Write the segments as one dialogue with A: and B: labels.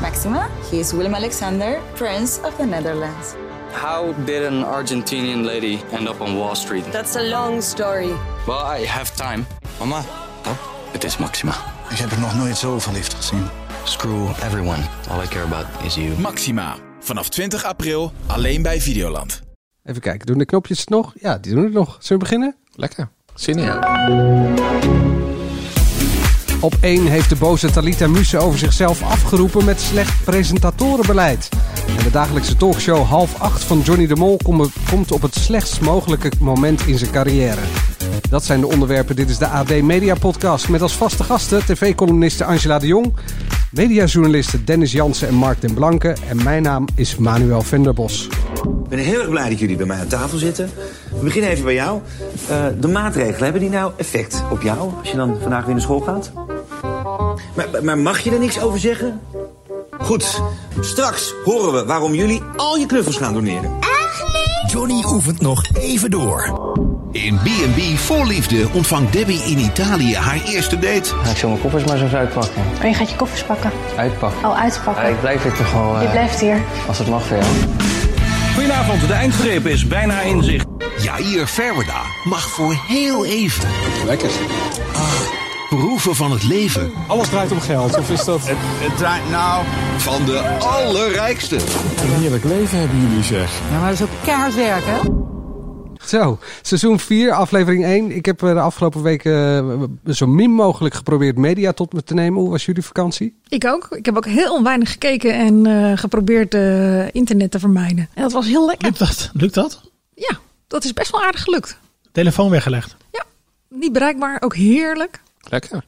A: Maxima. He is Willem Alexander, Prince of the Netherlands.
B: How did an Argentinian lady end up on Wall Street?
C: That's a long story.
B: Well, I have time.
D: Mama,
B: Het is Maxima.
E: Ik heb er nog nooit zo verliefd gezien.
B: Screw everyone. All I care about is you.
F: Maxima. Vanaf 20 april alleen bij Videoland.
G: Even kijken, doen de knopjes het nog? Ja, die doen het nog. Zullen we beginnen?
H: Lekker. Zin in. ja.
G: Op 1 heeft de boze Talita Muse over zichzelf afgeroepen met slecht presentatorenbeleid. En de dagelijkse talkshow half 8 van Johnny de Mol kom- komt op het slechtst mogelijke moment in zijn carrière. Dat zijn de onderwerpen. Dit is de AD Media Podcast met als vaste gasten tv-columniste Angela de Jong, mediajournalisten Dennis Jansen en Mark den Blanke. En mijn naam is Manuel Venderbos.
I: Ik ben heel erg blij dat jullie bij mij aan tafel zitten. We beginnen even bij jou. Eh, de maatregelen, hebben die nou effect op jou als je dan vandaag weer naar school gaat? Maar, maar mag je er niks over zeggen? Goed, straks horen we waarom jullie al je knuffels gaan doneren.
J: Johnny oefent nog even door. In B&B Vol Liefde ontvangt Debbie in Italië haar eerste date.
K: Ik zal mijn koffers maar zo eens uitpakken.
L: Oh, je gaat je koffers pakken.
K: Uitpakken.
L: Oh, uitpakken.
K: Ja, ik blijf dit toch al,
L: Je blijft hier.
K: als het mag voor jou.
M: Goedenavond, de eindstreep is bijna in zicht.
J: Jair Verwerda mag voor heel even Ah,
G: Lekker.
J: proeven van het leven
M: Alles draait om geld, of is dat...
D: Het draait nou.
J: van de allerrijkste.
M: Een heerlijk leven hebben jullie, zeg.
C: Ja, maar dat is ook keihard werken.
G: Zo, seizoen 4, aflevering 1. Ik heb eh, de afgelopen weken eh, zo min mogelijk geprobeerd media tot me te nemen. Hoe was jullie vakantie?
N: Ik ook. Ik heb ook heel weinig gekeken en eh, geprobeerd eh, internet te vermijden. En dat was heel lekker.
H: Lukt dat? Lukt dat?
N: Ja, dat is best wel aardig gelukt.
H: Telefoon weggelegd.
N: Niet bereikbaar, ook heerlijk.
H: Lekker.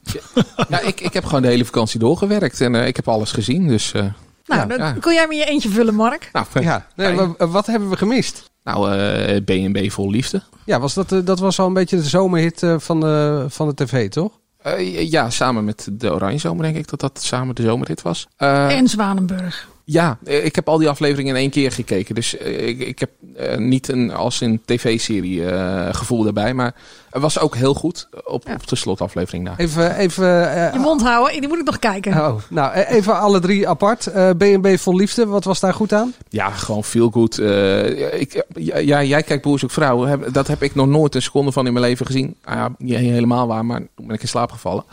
H: ja, ik, ik heb gewoon de hele vakantie doorgewerkt en eh, ik heb alles gezien. Dus, eh,
N: Nou,
H: Ja,
N: dat
H: ja.
N: kon jij me je eentje vullen, Mark.
H: nou,
G: Ja, nee,
H: fijn.
G: wa- wat hebben we gemist?
H: nou eh, B&B vol liefde.
G: Ja, was dat, eh, dat was al een beetje de zomerhit eh, van de, van de tv, toch?
H: Eh, ja, samen met de Oranje Zomer denk ik dat dat samen de zomerrit was. Eh,
N: En Zwanenburg.
H: Ja, eh, ik heb al die afleveringen in één keer gekeken. Dus eh, ik, ik heb eh, niet een als een tv-serie eh, gevoel daarbij. Maar het was ook heel goed eh, op,
N: Ja.
H: op de slotaflevering na.
G: Even, even, eh,
N: Je mond houden, die moet ik nog kijken.
G: oh, nou, eh, even alle drie apart. Eh, B&B Vol Liefde, wat was daar goed aan?
H: Ja, gewoon veel goed. eh, ik, ja, ja, jij kijkt Boer zoekt vrouw. Heb- Dat heb ik nog nooit een seconde van in mijn leven gezien. Ah ja, niet helemaal waar, maar toen ben ik in slaap gevallen.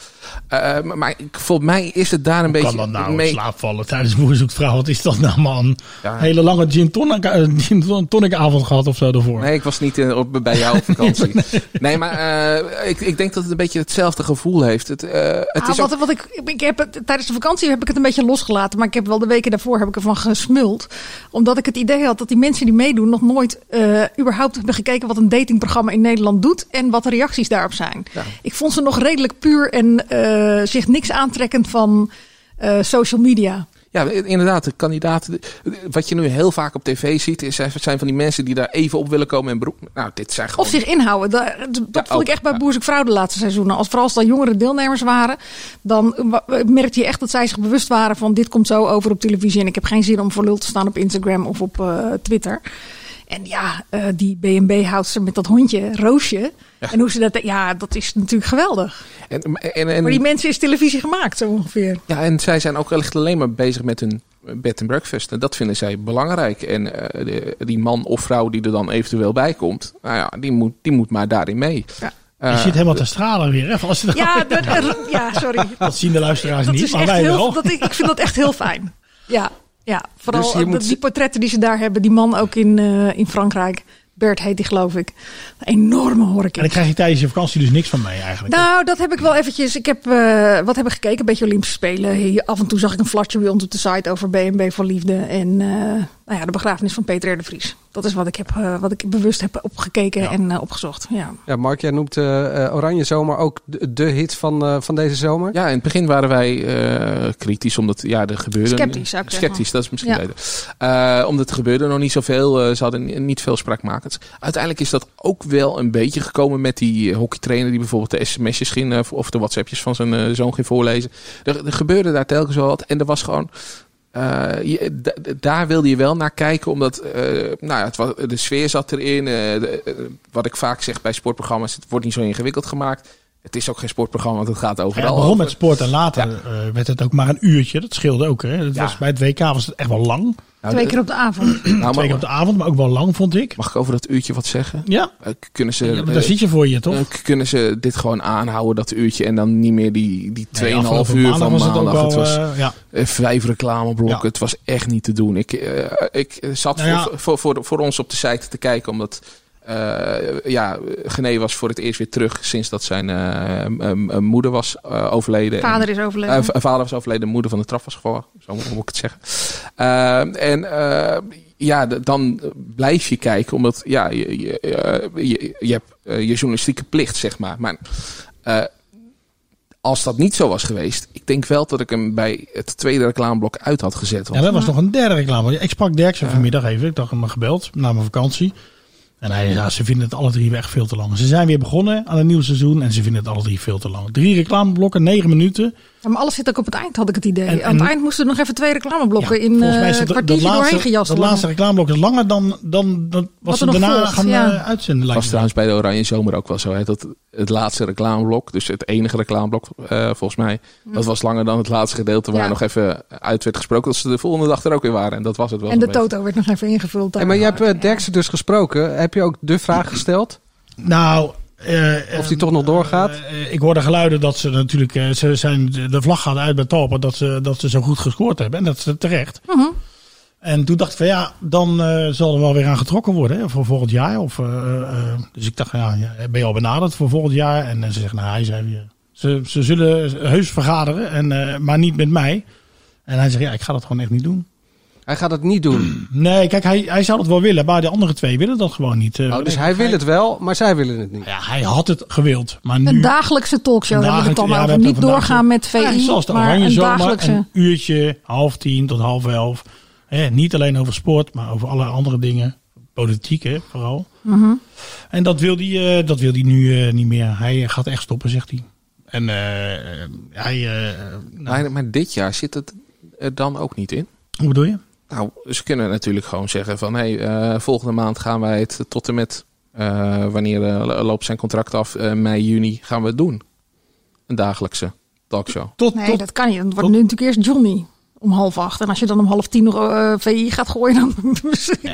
H: Eh, maar maar ik- volgens mij is het daar een beetje
I: kan dat nou,
H: mee.
I: slaap vallen tijdens boerzoekvrouw. Wat is dat nou, man?
H: Ja.
I: Hele lange gin tonic, eh, gin ton- tonic avond gehad of zo daarvoor.
H: Nee, ik was niet eh, op, bij jou op vakantie. nee. maar eh, ik, ik denk dat het een beetje hetzelfde gevoel heeft. Het, eh, het
N: Ah,
H: is ook
N: wat, wat ik, ik heb het, tijdens de vakantie heb ik het een beetje losgelaten. Maar ik heb wel de weken daarvoor heb ik ervan gesmuld. Omdat ik het idee had dat die mensen die meedoen nog nooit eh, überhaupt hebben gekeken wat een datingprogramma in Nederland doet. En wat de reacties daarop zijn.
H: Ja.
N: Ik vond ze nog redelijk puur en eh, zich niks aantrekkend van eh, social media.
H: Ja, inderdaad. De kandidaten. Wat je nu heel vaak op tv ziet, is, eh, zijn van die mensen die daar even op willen komen en beroep. Nou, dit zijn gewoon.
N: Of zich inhouden. Da- Dat,
H: Ja,
N: vond ik
H: ook,
N: echt bij
H: ja.
N: Boers ik Vrouw de laatste seizoenen. Als, vooral als dan jongere deelnemers waren, dan wa- merkte je echt dat zij zich bewust waren van dit komt zo over op televisie. En ik heb geen zin om voor lul te staan op Instagram of op eh, Twitter. En ja, eh, die BNB houdt ze met dat hondje, Roosje. En hoe ze dat, ja, dat is natuurlijk geweldig.
H: En, en, en,
N: Maar die mensen is televisie gemaakt, zo ongeveer.
H: ja, en zij zijn ook echt alleen maar bezig met hun bed and breakfast. En dat vinden zij belangrijk. En eh, de- die man of vrouw die er dan eventueel bij komt, nou ja, die moet, die moet maar daarin mee.
N: Ja.
H: Eh,
I: je zit helemaal te stralen weer. Hè? Als je dat,
N: Ja, dat, eh, ja sorry.
I: dat zien de luisteraars
N: Dat
I: niet,
N: is
I: maar
N: echt
I: wij
N: heel,
I: wel.
N: dat, ik, ik vind dat echt heel fijn. Ja, ja vooral
G: Dus je
N: dat-
G: moet-
N: die portretten die ze daar hebben. Die man ook in, eh, in Frankrijk. Bert heet die, geloof ik. Een enorme
I: En dan
N: horking.
I: krijg je tijdens je vakantie dus niks van mee eigenlijk.
N: Nou, dat heb ik wel eventjes. Ik heb eh, wat hebben gekeken. Een beetje Olympische Spelen. Hier, af en toe zag ik een flatje bij ons op de site over BNB voor Liefde. En eh, nou ja, de begrafenis van Peter R. de Vries. Dat is wat ik, heb, eh, wat ik bewust heb opgekeken en eh, opgezocht. Ja.
G: Ja, Mark, jij noemt eh, eh, Oranje Zomer ook de, de hit van, eh, van deze zomer.
H: Ja, in het begin waren wij eh, kritisch, omdat ja, er gebeurde...
N: Sceptisch, zou ik zeggen.
H: Sceptisch, dat is misschien
N: Ja.
H: beter. Eh, omdat er gebeurde nog niet zoveel. eh ze hadden ni- niet veel spraakmakends. Uiteindelijk is dat ook wel een beetje gekomen met die eh, hockeytrainer... die bijvoorbeeld de sms'jes ging, eh, of de whatsappjes van zijn eh, zoon ging voorlezen. Er, er gebeurde daar telkens wel wat. En er was gewoon... eh, je- da- da- daar wilde je wel naar kijken, omdat eh, nou ja, het wa- de sfeer zat erin. eh, de- eh, wat ik vaak zeg bij sportprogramma's, het wordt niet zo ingewikkeld gemaakt. Het is ook geen sportprogramma, want het gaat
D: Ja,
H: overal.
D: het begon
H: over.
D: met sport en later eh, werd het ook maar een uurtje. Dat scheelde ook. Hè. Dat
H: Ja.
D: was, bij het WK was het echt wel lang.
N: Twee keer op de avond.
H: maar-
D: Twee keer op de avond, maar ook wel lang vond ik.
H: Mag ik over dat uurtje wat zeggen?
D: Ja.
H: Eh, k- kunnen ze,
D: Ja, maar
H: eh,
D: daar zit je voor je, toch?
H: eh, k- kunnen ze dit gewoon aanhouden, dat uurtje, en dan niet meer die, die 2,5
D: afgelopen
H: uur
D: maandag
H: van
D: was het ook
H: maandag.
D: al,
H: het was
D: eh, ja.
H: eh, vijf reclameblokken.
D: Ja.
H: Het was echt niet te doen. Ik, eh, ik eh, zat
D: Nou ja.
H: voor, voor, voor, voor ons op de site te kijken, omdat... eh ja, Gené was voor het eerst weer terug sinds dat zijn eh, m- m- moeder was eh, overleden.
N: Vader
H: En-
N: is overleden.
H: eh, v- vader was overleden, moeder van de trap was gevallen. Zo moet ik het zeggen. Eh, en eh, ja, d- dan blijf je kijken, omdat ja, je, je, eh, je, je hebt eh, je journalistieke plicht, zeg maar. Maar eh, als dat niet zo was geweest, ik denk wel dat ik hem bij het tweede reclameblok uit had gezet.
D: Ja,
H: Want,
D: dat was nog een derde reclame. Ik sprak Derksen vanmiddag even. Ik dacht hem gebeld na mijn vakantie. En hij zei, ja, ze vinden het alle drie echt veel te lang. Ze zijn weer begonnen aan een nieuw seizoen en ze vinden het alle drie veel te lang. Drie reclameblokken, negen minuten.
N: Ja, maar alles zit ook op het eind, had ik het idee.
D: En-
N: Aan het
D: en-
N: eind moesten er nog even twee reclameblokken in
D: Volgens mij
N: eh
D: is
N: een
D: dat dat
N: kwartiertje doorheen gejast.
D: dat
N: worden.
D: laatste reclameblok is langer dan, dan, dan
N: Wat
D: wat ze
N: er nog
D: daarna
N: volgt,
D: gaan
N: ja.
D: eh, uitzenden.
H: Dat
D: lijkt
H: was
D: me.
H: trouwens bij de Oranje Zomer ook wel zo. Hè? Dat het laatste reclameblok, dus het enige reclameblok eh, volgens mij, dat was langer dan het laatste gedeelte waar
N: Mm. Ja.
H: nog even uit werd gesproken. Dat ze de volgende dag er ook weer waren. En dat was het wel.
N: En de
H: zo'n beetje.
N: toto werd nog even ingevuld. daar.
G: Hey, maar je hebt eh, Derksen dus gesproken. Heb je ook de vraag gesteld?
D: Nou,
G: of die toch nog doorgaat?
D: Eh, Ik hoorde geluiden dat ze natuurlijk, eh, ze zijn, de vlag gaat uit bij Talpa dat ze, dat ze zo goed gescoord hebben. En dat is terecht.
N: Mhm.
D: En toen dacht ik van ja, dan eh, zal er wel weer aan getrokken worden hè, voor volgend jaar. Of, eh, eh, dus ik dacht, ja, ja, ben je al benaderd voor volgend jaar? En eh, ze zeggen, nou hij zei, ja, ze, ze zullen heus vergaderen, en, eh, maar niet met mij. En hij zegt, ja, ik ga dat gewoon echt niet doen.
G: Hij gaat het niet doen.
D: Nee, kijk, hij, hij zou dat wel willen, maar de andere twee willen dat gewoon niet. Eh,
G: Oh, dus hij wil het wel, maar zij willen het niet.
D: Ja, hij had het gewild, maar nu...
N: Een dagelijkse talkshow
D: Vandaag
N: hebben we het
D: het-
N: allemaal
D: ja, we
N: over.
D: hebben
N: Niet
D: het vandaag
N: doorgaan met
D: Ja,
N: VI,
D: zoals de
N: maar
D: Oranje
N: een
D: Zomer,
N: dagelijkse...
D: een uurtje, half tien tot half elf. Hè, niet alleen over sport, maar over alle andere dingen. Politiek, hè, vooral.
N: Mhm.
D: En dat wil hij eh, dat wil die nu eh, niet meer. Hij eh, gaat echt stoppen, zegt hij. En eh, eh, hij... eh, nou,
H: Maar, maar dit jaar zit het er dan ook niet in.
D: hoe bedoel je?
H: Nou, ze kunnen natuurlijk gewoon zeggen van... Hey, eh, volgende maand gaan wij het tot en met... eh, wanneer eh, loopt zijn contract af? Eh, mei, juni gaan we het doen. Een dagelijkse talkshow.
D: Tot,
N: Nee, dat kan niet. Dan wordt nu natuurlijk eerst Johnny om half acht. En als je dan om half tien nog eh, VI gaat gooien, dan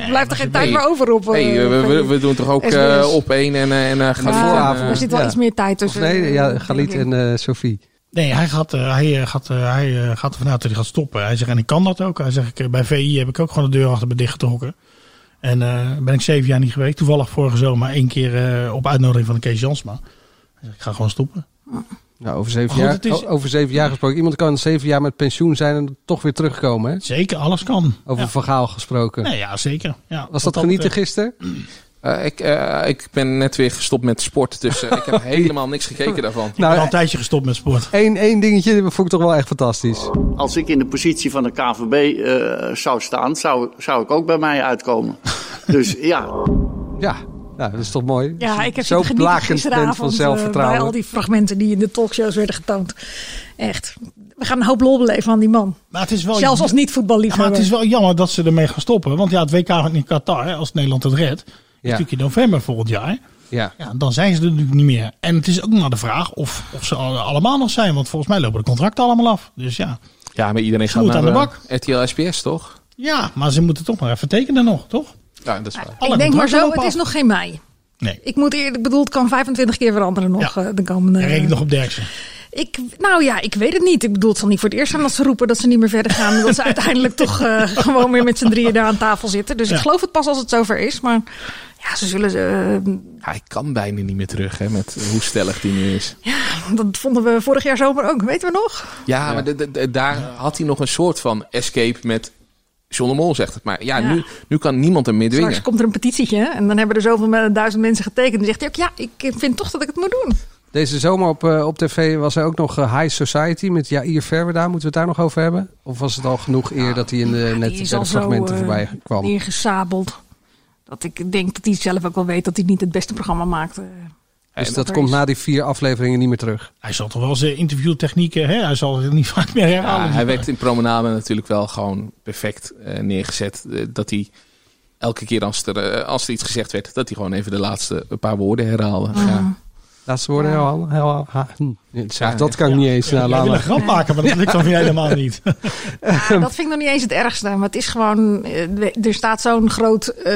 N: blijft er geen tijd
H: Nee.
N: meer over op. eh,
H: Hey, eh, we, we,
N: VI.
H: we doen toch ook
N: SBS.
H: eh, op één en, eh, en eh, Galit
N: Ja,
H: en,
G: vooravond.
H: eh,
N: Er Ah, zit wel
G: Ja.
N: iets meer tijd
G: Of
N: tussen.
G: nee,
N: denk
G: ja,
N: ik.
G: Galit en eh, Sophie.
D: Nee, hij gaat, eh, hij, eh, gaat, eh, hij eh, gaat ervan uit dat hij gaat stoppen. Hij zegt, en ik kan dat ook. Hij zegt, ik, eh, bij VI heb ik ook gewoon de deur achter me dichtgetrokken. En eh, ben ik zeven jaar niet geweest. Toevallig vorige zomer één keer eh, op uitnodiging van Kees Jansma. Hij zegt, ik ga gewoon stoppen.
G: Nou, over zeven,
D: Maar
G: jaar,
D: goed, het is-
G: o- over zeven jaar gesproken. Iemand kan zeven jaar met pensioen zijn en toch weer terugkomen. Hè?
D: Zeker, alles kan.
G: Over
D: Ja.
G: verhaal gesproken.
D: Nee, ja, zeker. Ja,
G: Was
D: wat
G: dat genieten
D: betreft-
G: gisteren?
H: eh, ik, eh, ik ben net weer gestopt met sport, dus eh, ik heb helemaal niks gekeken daarvan.
D: Ik ben al
G: Nou,
D: een tijdje gestopt met sport.
G: één, één dingetje dat vond ik toch wel echt fantastisch.
L: Als ik in de positie van de KVB eh, zou staan, zou, zou ik ook bij mij uitkomen. dus ja,
G: Ja, nou, dat is toch mooi.
N: Ja, ik heb
G: Zo
N: zitten genieten
G: blakend bent
N: gisteravond
G: van
N: eh,
G: zelfvertrouwen.
N: bij al die fragmenten die in de talkshows werden getoond. Echt. We gaan een hoop lol beleven van die man.
D: Maar het is wel
N: Zelfs als niet
D: Ja, maar
N: voetballiefhebber.
D: het is wel jammer dat ze ermee gaan stoppen. Want ja, het WK in Qatar, hè, als Nederland het redt, is natuurlijk in november volgend jaar.
G: Ja.
D: Ja, dan zijn ze er natuurlijk niet meer. En het is ook maar de vraag of, of ze al- allemaal nog zijn. Want volgens mij lopen de contracten allemaal af. Dus ja.
H: Ja, maar iedereen gaat
D: moet
H: naar
D: aan de
H: eh,
D: bak.
H: RTL SBS, toch?
D: ja, maar ze moeten toch nog even tekenen nog, toch?
H: Ja, dat is waar.
D: Alle
N: ik denk maar
D: contracten
N: zo,
D: lopen
N: het
D: af.
N: is nog geen mei.
D: Nee.
N: Ik moet eerlijk, ik bedoel, het kan 25 keer veranderen nog
D: Ja.
N: eh, de komende...
D: En reken nog op Derksen.
N: Ik, nou ja, ik weet het niet. Ik bedoel, het zal niet voor het eerst zijn dat ze roepen dat ze niet meer verder gaan. dat ze uiteindelijk toch eh, gewoon weer met z'n drieën daar aan tafel zitten. Dus ik
D: Ja.
N: geloof het pas als het zover is. Maar ja, ze zullen. eh,
H: Hij kan bijna niet meer terug, hè, met hoe stellig die nu is. Ja,
N: dat vonden we vorig jaar zomer ook, weten we nog?
H: maar de- de- de- daar had hij nog een soort van escape met John de Mol, zegt het. Maar ja,
N: Ja.
H: Nu, nu kan niemand hem meer
N: Straks
H: dwingen.
N: komt er een petitietje hè, en dan hebben er zoveel me- duizend mensen getekend. Dan zegt hij ook: Ja, ik vind toch dat ik het moet doen.
G: Deze zomer op, eh, op tv was er ook nog eh, High Society met Jair Verwerda. Moeten we het daar nog over hebben? Of was het al genoeg eer dat hij in de, net
N: Die
G: bij
N: is
G: de
N: al zo
G: fragmenten
N: eh,
G: voorbij kwam?
N: neergesabeld. Dat ik denk dat hij zelf ook wel weet dat hij niet het beste programma maakt. eh.
G: Dus
N: en
G: dat
N: er
G: komt
N: is-
G: na die vier afleveringen niet meer terug.
D: Hij zal toch wel zijn interviewtechnieken, hè? hij zal het niet vaak meer herhalen.
H: Ja, hij werd in Promenade natuurlijk wel gewoon perfect eh, neergezet. eh, dat hij
N: Ah.
H: elke keer als er, eh, als er iets gezegd werd, dat hij gewoon even de laatste paar woorden herhaalde. Ja.
G: Laatste woorden, Johan. Heel, ha-
D: Ah,
G: hm. Ja, dat kan ik niet eens.
D: Jij
G: Nou, laat
D: wil een
G: maar.
D: grap maken, maar dat lukt dan weer helemaal niet.
N: Ja, Nou, dat vind ik nog niet eens het ergste. Maar het is gewoon. eh, we- Er staat zo'n groot. eh,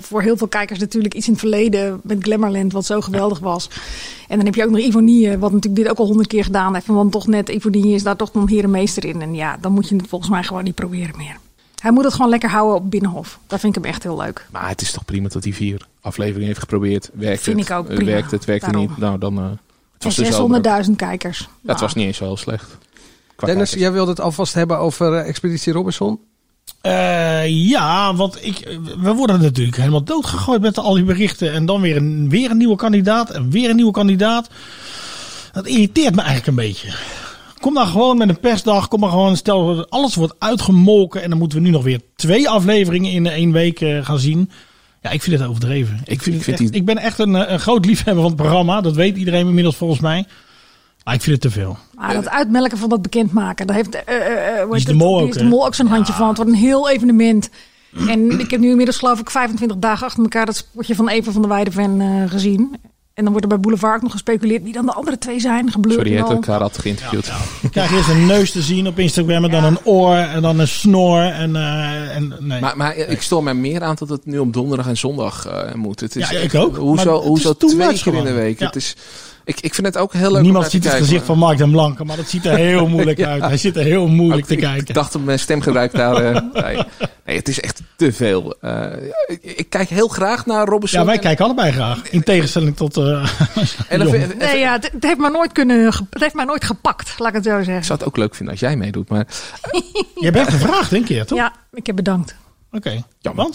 N: voor heel veel kijkers natuurlijk iets in het verleden. Met Glamourland, wat zo geweldig was. En dan heb je ook nog Ivonie, eh, wat natuurlijk dit ook al honderd keer gedaan heeft. Want toch net, Ivonie is daar toch nog herenmeester in. En ja, dan moet je het volgens mij gewoon niet proberen meer. Hij moet het gewoon lekker houden op Binnenhof. Dat vind ik hem echt heel leuk.
H: Maar het is toch prima dat hij vier afleveringen heeft geprobeerd. Werkt
N: Vind
H: het?
N: ik ook
H: Eh,
N: prima.
H: Werkt het, werkt het
N: Daarom.
H: niet. Nou, dan... eh, het
N: En
H: was dus wel-
N: 600.000 kijkers.
H: Ja, het was niet eens zo heel slecht. Qua
G: Dennis, jij wilde het alvast hebben over eh, Expeditie Robinson.
D: Eh, ja, want ik, we worden natuurlijk helemaal doodgegooid met al die berichten. En dan weer een, weer een nieuwe kandidaat en weer een nieuwe kandidaat. Dat irriteert me eigenlijk een beetje. Kom dan gewoon met een persdag. Kom maar gewoon, stel alles wordt uitgemolken. En dan moeten we nu nog weer twee afleveringen in één week eh, gaan zien. Ja, ik vind het overdreven. Ik, vind
H: ik vind
D: echt-
H: die-
D: ik ben echt een, eh, een groot liefhebber van het programma. Dat weet iedereen inmiddels volgens mij. Maar ik vind het te veel.
N: Ah, dat uitmelken van dat bekendmaken. Daar heeft, eh, eh, eh, hoe
D: is
N: heet
D: de
N: het?
D: mol
N: Die
D: ook,
N: is
D: hè?
N: ook zo'n handje van. Het wordt een heel evenement. En ik heb nu inmiddels geloof ik 25 dagen achter elkaar dat spotje van Eva van der Weijden eh gezien. En dan wordt er bij Boulevard ook nog gespeculeerd wie dan de andere twee zijn. Geblurred
H: Sorry,
N: en
H: je hebt
N: al.
H: elkaar had geïnterviewd.
D: Ik krijg eerst een neus te zien op Instagram. En dan een oor. En dan een snor. En, eh, en nee.
H: Maar, maar ik stoor mij meer aan dat het nu op donderdag en zondag eh, moet. Het is,
D: Ja, ik ook. Maar
H: Hoezo,
D: het is
H: hoezo
D: too
H: twee
D: much
H: keer in de
D: gewoon.
H: week?
D: Ja.
H: Het is, ik, ik vind het ook heel leuk om
D: Niemand
H: naar te
D: ziet het
H: kijken,
D: gezicht
H: maar-
D: van Mark den Blanke, maar dat ziet er heel moeilijk
H: Ja.
D: uit. Hij zit er heel moeilijk te
H: ik,
D: kijken.
H: Ik dacht op mijn stemgebruik daar. eh, nee. nee, het is echt te veel. Eh, ik, ik kijk heel graag naar Robinson.
D: Ja, wij
H: en-
D: kijken allebei graag. In tegenstelling tot. eh,
H: En dan
D: Jon.
H: vind-
N: Nee, ja, het, het heeft mij nooit kunnen, ge- het heeft mij nooit gepakt, laat ik het zo
H: ik
N: zeggen.
H: zou het ook leuk vinden als jij meedoet, maar
D: Je bent gevraagd een keer, toch?
N: Ja, ik heb bedankt.
D: Oké.
H: jammer.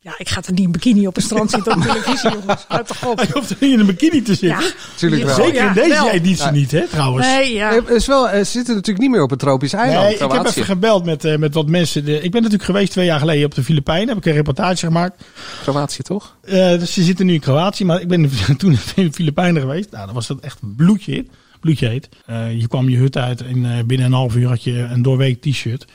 N: Ja, ik ga er niet in bikini op een strand zitten op televisie, jongens. Houd toch op.
D: Hij hoeft er niet in een bikini te zitten.
N: Ja.
G: Tuurlijk wel.
D: Zeker in deze
N: wel.
D: editie
G: Nee.
D: niet, hè, trouwens.
N: Nee, ja.
G: Eh, is wel, eh, ze zitten natuurlijk niet meer op een tropisch eiland.
D: Nee, ik heb
G: Kroatië.
D: even gebeld met, eh, met wat mensen. De- ik ben natuurlijk geweest twee jaar geleden op de Filipijnen. Heb ik een reportage gemaakt.
H: Kroatië, toch?
D: Eh, dus ze zitten nu in Kroatië, maar ik ben toen in de Filipijnen geweest. Nou, dan was dat echt bloedje, heet. bloedje heet. Eh, je kwam je hut uit en eh, binnen een half uur had je een doorweek t-shirt.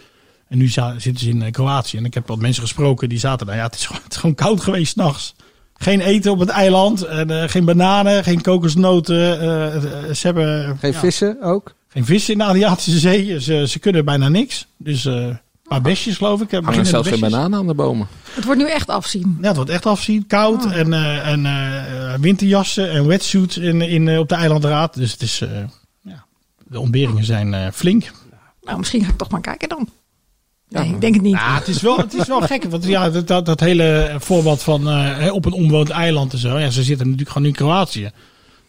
D: En nu za- zitten ze in eh, Kroatië. En ik heb wat mensen gesproken die zaten daar. Ja, het is gewoon, het is gewoon koud geweest s'nachts. Geen eten op het eiland. En, eh, geen bananen, geen kokosnoten. eh, eh, ze hebben
G: Geen
D: ja,
G: vissen ook.
D: geen vis in de Adriatische Zee. Ze, ze kunnen bijna niks. Dus eh, een paar bestjes geloof ik. Eh,
H: Hangen
D: beginnende
H: zelfs geen
D: bestjes.
H: bananen aan de bomen.
N: Het wordt nu echt afzien.
D: Ja, het wordt echt afzien. Koud en, eh, en eh, eh, winterjassen en wetsuits in, in, eh, op de eilandraad. Dus het is, eh, ja, de ontberingen zijn eh, flink.
N: Nou, misschien ga ik toch maar kijken dan. Nee,
H: Ja.
N: ik denk het niet.
D: Ja, het is wel, het is wel gek. Want ja, dat, dat, dat hele voorbeeld van eh, hè, op een onbewoond eiland en zo. Ja, ze zitten natuurlijk gewoon in Kroatië.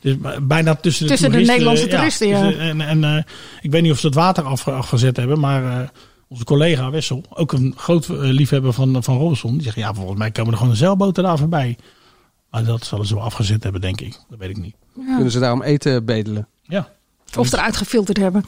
D: Dus b- bijna tussen de,
N: Tussen de
D: toeristen,
N: Nederlandse toeristen, ja.
D: tussen- En, en eh, ik weet niet of ze het water af, afgezet hebben, maar eh, onze collega Wessel, ook een groot eh, liefhebber van, van Robinson, die zegt ja, volgens mij komen er gewoon zeilboten daar voorbij. Maar dat zullen ze wel afgezet hebben, denk ik. Dat weet ik niet.
G: Kunnen ze daarom eten bedelen?
D: Ja,
N: Of eruit gefilterd hebben.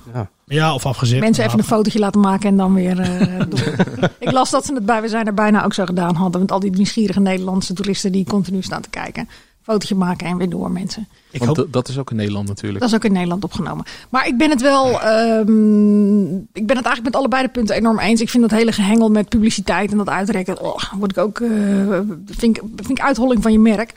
D: ja of afgezet.
N: Mensen even een
D: inderdaad.
N: fotootje laten maken en dan weer eh, door. Ik las dat ze het bij We Zijn er bijna ook zo gedaan hadden. Met al die nieuwsgierige Nederlandse toeristen die continu staan te kijken. Fotootje maken en weer door mensen.
D: Ik hoop-
H: Want
G: eh,
H: dat- dat is ook in Nederland natuurlijk.
N: Dat is ook in Nederland opgenomen. Maar ik ben het wel. ehm, ik ben het eigenlijk met allebei de punten enorm eens. Ik vind dat hele gehengel met publiciteit en dat uitrekken. Oh, word ik ook. eh, vind, ik, vind ik uitholling van je merk.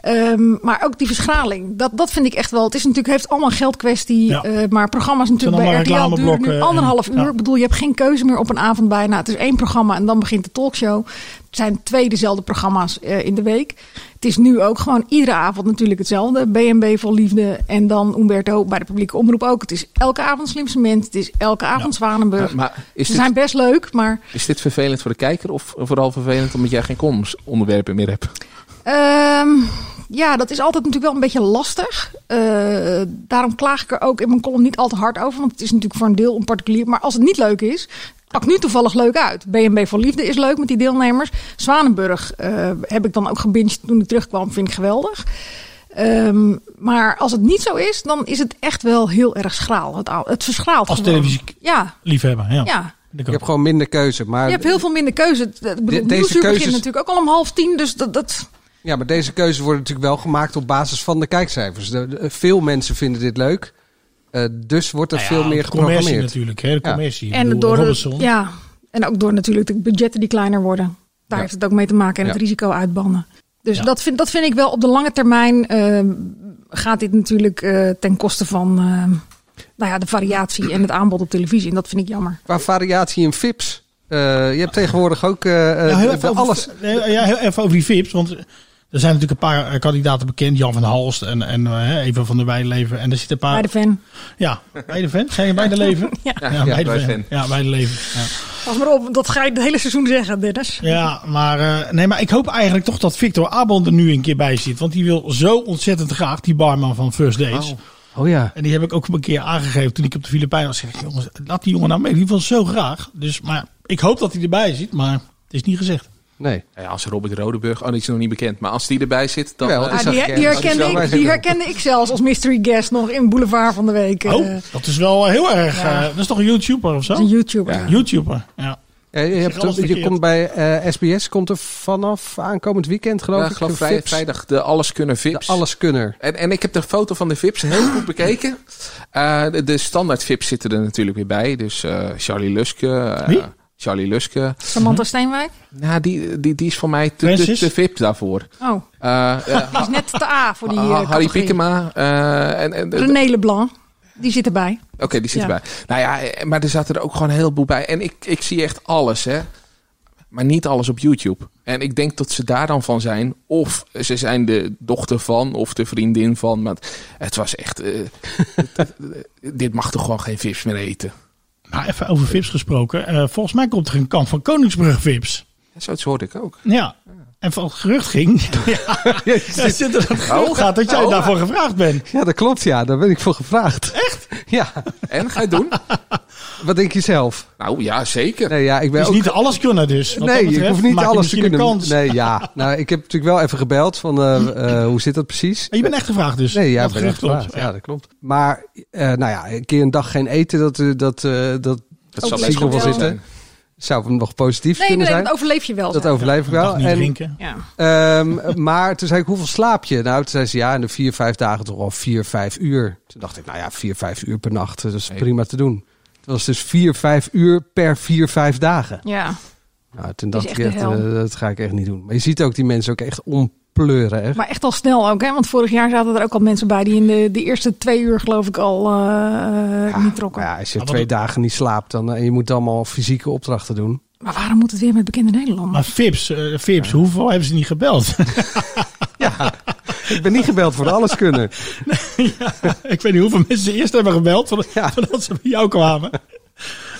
N: Ehm, maar ook die verschraling. Dat, dat vind ik echt wel. Het is natuurlijk heeft allemaal geldkwestie.
D: Ja.
N: eh, maar programma's natuurlijk bij
D: allemaal
N: RTL duren nu
D: reclameblokken en-
N: anderhalf uur.
D: ja.
N: Ik bedoel, je hebt geen keuze meer op een avond bijna. Het is één programma en dan begint de talkshow. Het zijn twee dezelfde programma's eh, in de week. Het is nu ook gewoon iedere avond natuurlijk hetzelfde. BNB vol liefde en dan Umberto bij de publieke omroep ook. Het is elke avond Slimste Mens. Het is elke avond Zwanenburg.
H: Maar, maar is,
N: Ze
H: dit,
N: zijn best leuk, maar
H: is dit vervelend voor de kijker of vooral vervelend omdat jij geen columns onderwerpen meer hebt?
N: Ehm, ja, dat is altijd natuurlijk wel een beetje lastig. Eh, daarom klaag ik er ook in mijn column niet al te hard over. Want het is natuurlijk voor een deel een particulier. Maar als het niet leuk is, pakt nu toevallig leuk uit. BNB voor Liefde is leuk met die deelnemers. Zwanenburg eh, heb ik dan ook gebinged toen ik terugkwam. Vind ik geweldig. Ehm, maar als het niet zo is, dan is het echt wel heel erg schraal. Het, ou- het verschraalt
D: Als
N: gewoon.
D: televisie
N: Ja,
D: liefhebber, ja.
N: ja.
D: Ik
G: Je
D: ook.
G: hebt gewoon minder keuze. Maar,
N: Je hebt heel veel minder keuze. Ik bedoel,
G: deze
N: Nieuwsuur begint
G: keuzes-
N: natuurlijk ook al om half tien. Dus dat... dat
G: ja, maar deze keuzes worden natuurlijk wel gemaakt op basis van de kijkcijfers. De- de- veel mensen vinden dit leuk. Eh, dus wordt er
D: Nou ja,
G: veel meer
D: de commercie
G: geprogrammeerd.
D: natuurlijk, hè, de
G: Ja.
D: commercie. Ik
N: En
D: bedoel,
N: door de,
D: Robinson.
N: ja, en ook door natuurlijk de budgetten die kleiner worden. Daar
G: Ja.
N: heeft het ook mee te maken en het
G: Ja.
N: risico uitbannen. Dus dat, vind, dat vind ik wel op de lange termijn eh, gaat dit natuurlijk eh, ten koste van eh, nou ja, de variatie en het aanbod op televisie. En dat vind ik jammer.
G: Qua variatie in VIPs. eh, je hebt tegenwoordig ook eh, eh,
D: Nou, heel
G: de-
D: even over,
G: alles.
D: nee, eh, ja, heel even over die VIP's. Want er zijn natuurlijk een paar eh, kandidaten bekend. Jan van Halst en, en eh, Eva van der Weijleven. En er zitten een paar...
N: Bij de fan.
D: Ja, bij de fan. Zijn je bij de leven?
N: Ja.
H: Ja,
D: bij
H: bij
D: de fan.
H: fan.
D: Ja, bij de leven. Ja.
N: Pas maar op, dat ga je het hele seizoen zeggen, Dennis.
D: Ja, maar, eh, nee, maar ik hoop eigenlijk toch dat Victor Abond er nu een keer bij zit. Want die wil zo ontzettend graag, die barman van First Dates.
G: Oh ja.
D: En die heb ik ook een keer aangegeven toen ik op de Filipijnen was. Zeg ik, jongens, laat die jongen nou mee. Die wil zo graag. Dus, maar ik hoop dat hij erbij zit, maar het is niet gezegd.
G: Nee.
H: Ja, als Robert Rodenburg, oh, die is nog niet bekend. Maar als die erbij zit, dan...
G: Jawel,
H: eh,
G: dat
N: Ah, die,
G: zag ik
N: die
G: ergens.
N: herkende
G: Dat is
N: ik,
G: wel-
N: die herkende ik zelfs als mystery guest nog in Boulevard van de Week. eh,
D: Oh, dat is wel heel erg.
N: Ja.
D: eh, dat is toch een YouTuber of zo?
N: Een YouTuber. Ja.
D: YouTuber, ja.
G: Ja, Eh, je, hebt,
D: alles
G: je
D: verkeerd.
G: komt bij eh, SBS komt er vanaf aankomend weekend geloof
H: ja,
G: ik.
H: ik eh, geloof
G: een
H: vrij-
G: Vips.
H: vrijdag de Alles Kunnen Vips.
G: De alleskunner.
H: En, en ik heb de foto van de VIP's heel goed bekeken. Eh, de, de standaard VIP's zitten er natuurlijk weer bij. Dus eh, Charlie Luske. eh,
D: Wie?
H: Charlie Luske.
N: Samantha Steenwijk.
H: Nou, die, die, die is voor mij te, te,
D: Francis?
H: te VIP daarvoor.
N: Oh,
H: Eh, eh,
N: die is net te A voor die eh,
H: Ha- ah, Harry
N: categorie.
H: Piekema. eh, en, en,
N: René Leblanc. Die zit erbij.
H: Oké, die zit
N: Ja.
H: erbij. Nou ja, eh, maar er zaten er ook gewoon een heleboel bij. En ik, ik zie echt alles, hè. Maar niet alles op YouTube. En ik denk dat ze daar dan van zijn. Of ze zijn de dochter van, of de vriendin van. Maar het was echt... eh, dit mag toch gewoon geen vips meer eten?
D: Maar even over Vips gesproken. Eh, volgens mij komt er een kamp van Koningsbrug Vips.
H: Zoiets hoorde ik ook.
D: Ja. En van het gerucht ging. ja, ja, zit er dat gerucht gaat dat jij
H: Oh.
D: daarvoor gevraagd bent.
G: Ja, dat klopt ja. Daar ben ik voor gevraagd. Echt? Ja.
H: En, ga je het doen?
G: Wat denk je zelf?
H: nou, ja, zeker.
G: Nee, ja, ik ben
D: Dus
G: ook
D: niet alles kunnen dus. Wat
G: nee,
D: dat betreft,
G: ik hoef niet
D: maak je
G: alles te
D: misschien een
G: kunnen.
D: Kans.
G: Nee, ja. Nou, ik heb natuurlijk wel even gebeld van eh, eh, hoe zit dat precies? Eh,
D: En je bent echt gevraagd dus.
G: Nee, ja,
D: Dat
G: ben echt
D: gerucht klopt.
G: gevraagd. Ja, dat klopt. Maar, eh, nou ja, een keer een dag geen eten, dat, eh, dat, eh, dat,
H: Dat zal
G: zie ik
H: best
G: nog wel
H: Oh, wel
G: zitten.
H: zitten.
G: zou nog positief
N: Nee, nee,
G: kunnen
N: nee,
G: zijn.
N: dat overleef je wel.
G: dat
N: zeg.
G: overleef ik
D: Een dag
G: wel.
D: niet
G: En,
D: drinken.
N: Ja.
G: ehm, maar toen zei ik, hoeveel slaap je? Nou, toen zei ze, ja, in de vier, vijf dagen toch al vier, vijf uur. Toen dacht ik, nou ja, vier, vijf uur per nacht, eh, dat is prima te doen. Het was dus vier, vijf uur per vier, vijf dagen.
N: ja.
G: Nou, toen
N: Dat is
G: dacht ik
N: echt
G: echt,
N: de hel.
G: eh, dat ga ik echt niet doen. Maar je ziet ook die mensen ook echt ompleuren. Echt.
N: Maar echt al snel ook, hè? Want vorig jaar zaten er ook al mensen bij die in de, de eerste twee uur, geloof ik, al eh, niet trokken.
G: Maar ja, als je
D: Maar wat
G: twee
D: het-
G: dagen niet slaapt dan, eh, en je moet allemaal fysieke opdrachten doen.
N: Maar waarom moet het weer met bekende Nederlanders?
D: Maar Vips, eh, Vips hoeveel hebben ze niet gebeld?
G: Ja, ik ben niet gebeld voor de alleskunner.
D: ik weet niet hoeveel mensen ze eerst hebben gebeld voordat,
G: Ja.
D: voordat ze bij jou kwamen.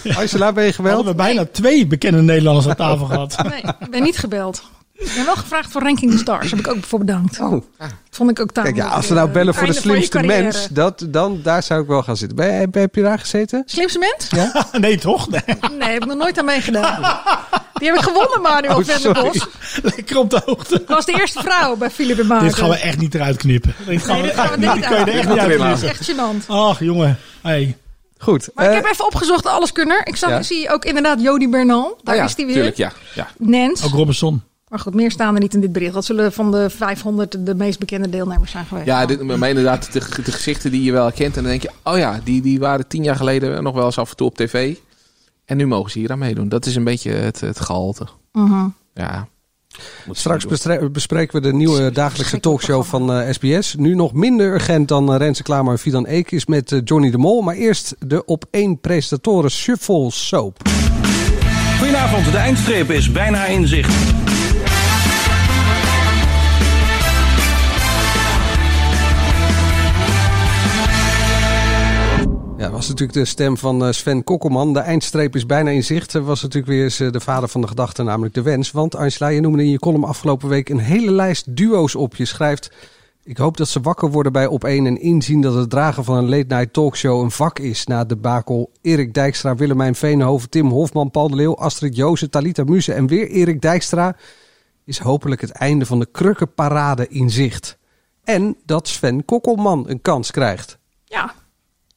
D: We
G: Angela, ben je gebeld?
D: hadden we bijna twee bekende Nederlanders aan tafel gehad.
N: Nee, ik ben niet gebeld. Ik ben wel gevraagd voor Ranking the Stars. Daar heb ik ook voor bedankt.
G: Oh,
N: Dat vond ik
G: kijk,
N: ook tamelijk.
G: ja, als ze nou
N: eh,
G: bellen voor de
N: einde van je
G: slimste
N: carrière.
G: mens, dat, dan daar zou ik wel gaan zitten. Ben, je- ben- heb je daar gezeten?
N: Slimste mens?
D: nee, toch? Nee.
N: Nee, heb ik nog nooit aan meegedaan. Die heb ik gewonnen, Manuel
G: Oh,
N: Venderbos.
G: sorry.
D: Lekker op de hoogte.
N: Ik was de eerste vrouw bij Philip en Maarten.
D: Dit gaan we echt niet eruit knippen. Dit gaan
N: Ah,
D: we
N: dus- Nee, dit gaan
D: echt
N: we
D: niet.
N: niet
D: Dit kun je er echt niet
H: eruit
D: uit
N: Dat is
D: knippen.
N: echt gênant.
D: Ach, jongen. Hey.
G: Goed.
N: Maar ik
G: eh,
N: heb even opgezocht, alleskunner. Ik zag,
G: Ja.
N: ik zie ook inderdaad Jody Bernal. Daar
H: Nou Oh ja,
N: is die weer.
H: Tuurlijk, ja. ja.
N: Nens.
D: Ook Robinson.
N: Maar goed, meer staan er niet in dit bericht. Dat zullen van de 500 de meest bekende deelnemers zijn geweest.
H: Ja, dit, maar inderdaad, de, de gezichten die je wel herkent. En dan denk je, oh ja, die, die waren tien jaar geleden nog wel eens af en toe op tv. En nu mogen ze hier aan meedoen. Dat is een beetje het, het gehalte.
N: Mhm.
H: Ja. Moet ze
G: Straks
H: doen.
G: bestre- bespreken we de nieuwe dagelijkse talkshow van eh, SBS. Nu nog minder urgent dan eh, Renze Klamer en Fidan Eek is met eh, Johnny de Mol. Maar eerst de op één presentatoren Shuffle Soap.
M: Goedenavond, de eindstreep is bijna in zicht.
G: Ja, dat was natuurlijk de stem van eh, Sven Kokkelman. De eindstreep is bijna in zicht. Dat was natuurlijk weer eens eh, de vader van de gedachte, namelijk de wens. Want Angela, je noemde in je column afgelopen week een hele lijst duo's op. Je schrijft, ik hoop dat ze wakker worden bij op één en inzien dat het dragen van een late night talkshow een vak is. Na de bakel Erik Dijkstra, Willemijn Veenhoven, Tim Hofman, Paul de Leeuw, Astrid Joosen, Talita Muse en weer Erik Dijkstra... is hopelijk het einde van de krukkenparade in zicht. En dat Sven Kokkelman een kans krijgt.
N: Ja,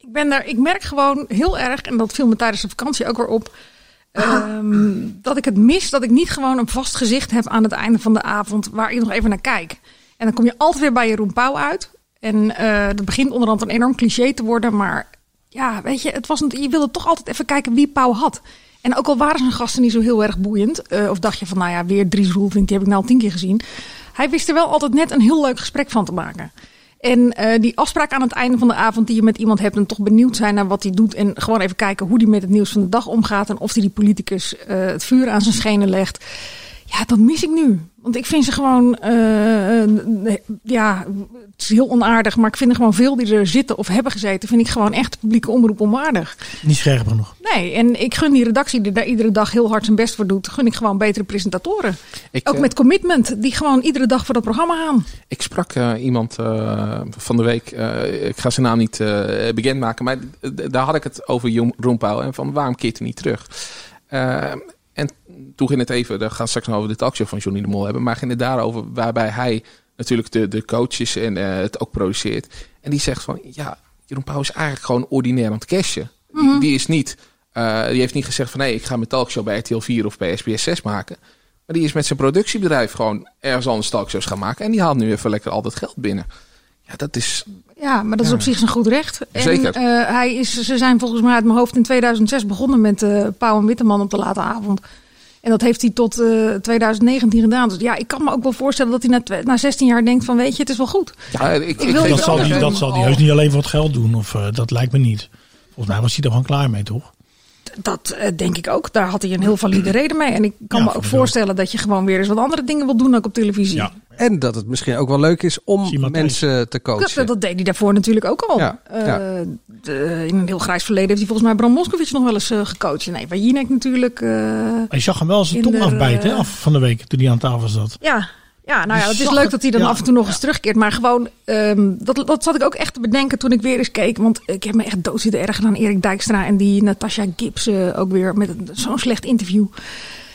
N: ik ben daar. Ik merk gewoon heel erg, en dat viel me tijdens de vakantie ook weer op. ehm, dat ik het mis dat ik niet gewoon een vast gezicht heb aan het einde van de avond waar ik nog even naar kijk. En dan kom je altijd weer bij Jeroen Pauw uit. En eh, dat begint onderhand een enorm cliché te worden, maar ja, weet je, het was een, je wilde toch altijd even kijken wie Pauw had. En ook al waren zijn gasten niet zo heel erg boeiend, eh, of dacht je van, nou ja, weer Dries Roelvink, die heb ik nou al tien keer gezien. Hij wist er wel altijd net een heel leuk gesprek van te maken. En eh, die afspraak aan het einde van de avond die je met iemand hebt en toch benieuwd zijn naar wat hij doet en gewoon even kijken hoe hij met het nieuws van de dag omgaat en of hij die politicus eh, het vuur aan zijn schenen legt. Ja, dat mis ik nu. Want ik vind ze gewoon, eh, eh, nee, ja, het is heel onaardig, maar ik vind er gewoon veel die er zitten of hebben gezeten, vind ik gewoon echt publieke omroep onwaardig.
D: Niet scherp genoeg.
N: Nee, en ik gun die redactie die daar iedere dag heel hard zijn best voor doet, gun ik gewoon betere presentatoren.
H: Ik,
N: Ook
H: eh,
N: met commitment, die gewoon iedere dag voor dat programma gaan.
H: Ik sprak eh, iemand eh, van de week, eh, ik ga zijn naam niet eh, bekendmaken, maar d- d- daar had ik het over Jong Rompouw en van waarom keert hij niet terug? Eh, en toen ging het even, daar gaan we straks nog over de talkshow van Johnny de Mol hebben, maar ging het daarover waarbij hij natuurlijk de, de coaches en eh, het ook produceert. En die zegt van, ja, Jeroen Pauw is eigenlijk gewoon ordinair aan het cashen. Die-
O: Mhm.
H: Die is niet, eh, die heeft niet gezegd van, nee, ik ga mijn talkshow bij RTL 4 of bij SBS 6 maken. Maar die is met zijn productiebedrijf gewoon ergens anders talkshows gaan maken. En die haalt nu even lekker al dat geld binnen. Ja, dat is...
N: Ja, maar dat is
H: Ja.
N: op zich zijn goed recht. En,
H: Zeker.
N: eh, hij is, ze zijn volgens mij uit mijn hoofd in 2006 begonnen met eh Pauw en Witteman op de late avond. En dat heeft hij tot eh, 2019 gedaan. Dus ja, ik kan me ook wel voorstellen dat hij na, twe- na 16 jaar denkt van weet je, het is wel goed.
H: Ja, ik,
N: wil
D: dat
N: iets
D: zal,
N: anders
D: die,
N: doen.
D: dat zal die heus niet alleen voor het geld doen. Of, eh, dat lijkt me niet. Volgens mij was hij er gewoon klaar mee, toch?
N: Dat eh, denk ik ook. Daar had hij een heel valide reden mee. En ik kan me ook voorstellen dat je gewoon weer eens wat andere dingen wil doen ook op televisie.
G: En dat het misschien ook wel leuk is om mensen te
N: Dat,
G: coachen.
N: dat deed hij daarvoor natuurlijk ook al.
G: Ja,
N: Eh,
G: ja.
N: de- in een heel grijs verleden heeft hij volgens mij Bram Moskowitz nog wel eens eh, gecoacht. Nee, bij Jinek natuurlijk. eh,
D: Hij zag hem wel zijn
N: in
D: tong
N: de-
D: afbijten hè, af van de week toen hij aan tafel zat.
N: Ja, ja nou ja,
D: Die
N: het is
D: zag
N: leuk
D: het,
N: dat hij dan
D: ja.
N: af en toe nog eens terugkeert. Maar gewoon, ehm, dat, dat zat ik ook echt te bedenken toen ik weer eens keek. Want ik heb me echt dood zitten erger dan Erik Dijkstra en die Natasha Gibbs eh, ook weer met een- zo'n slecht interview.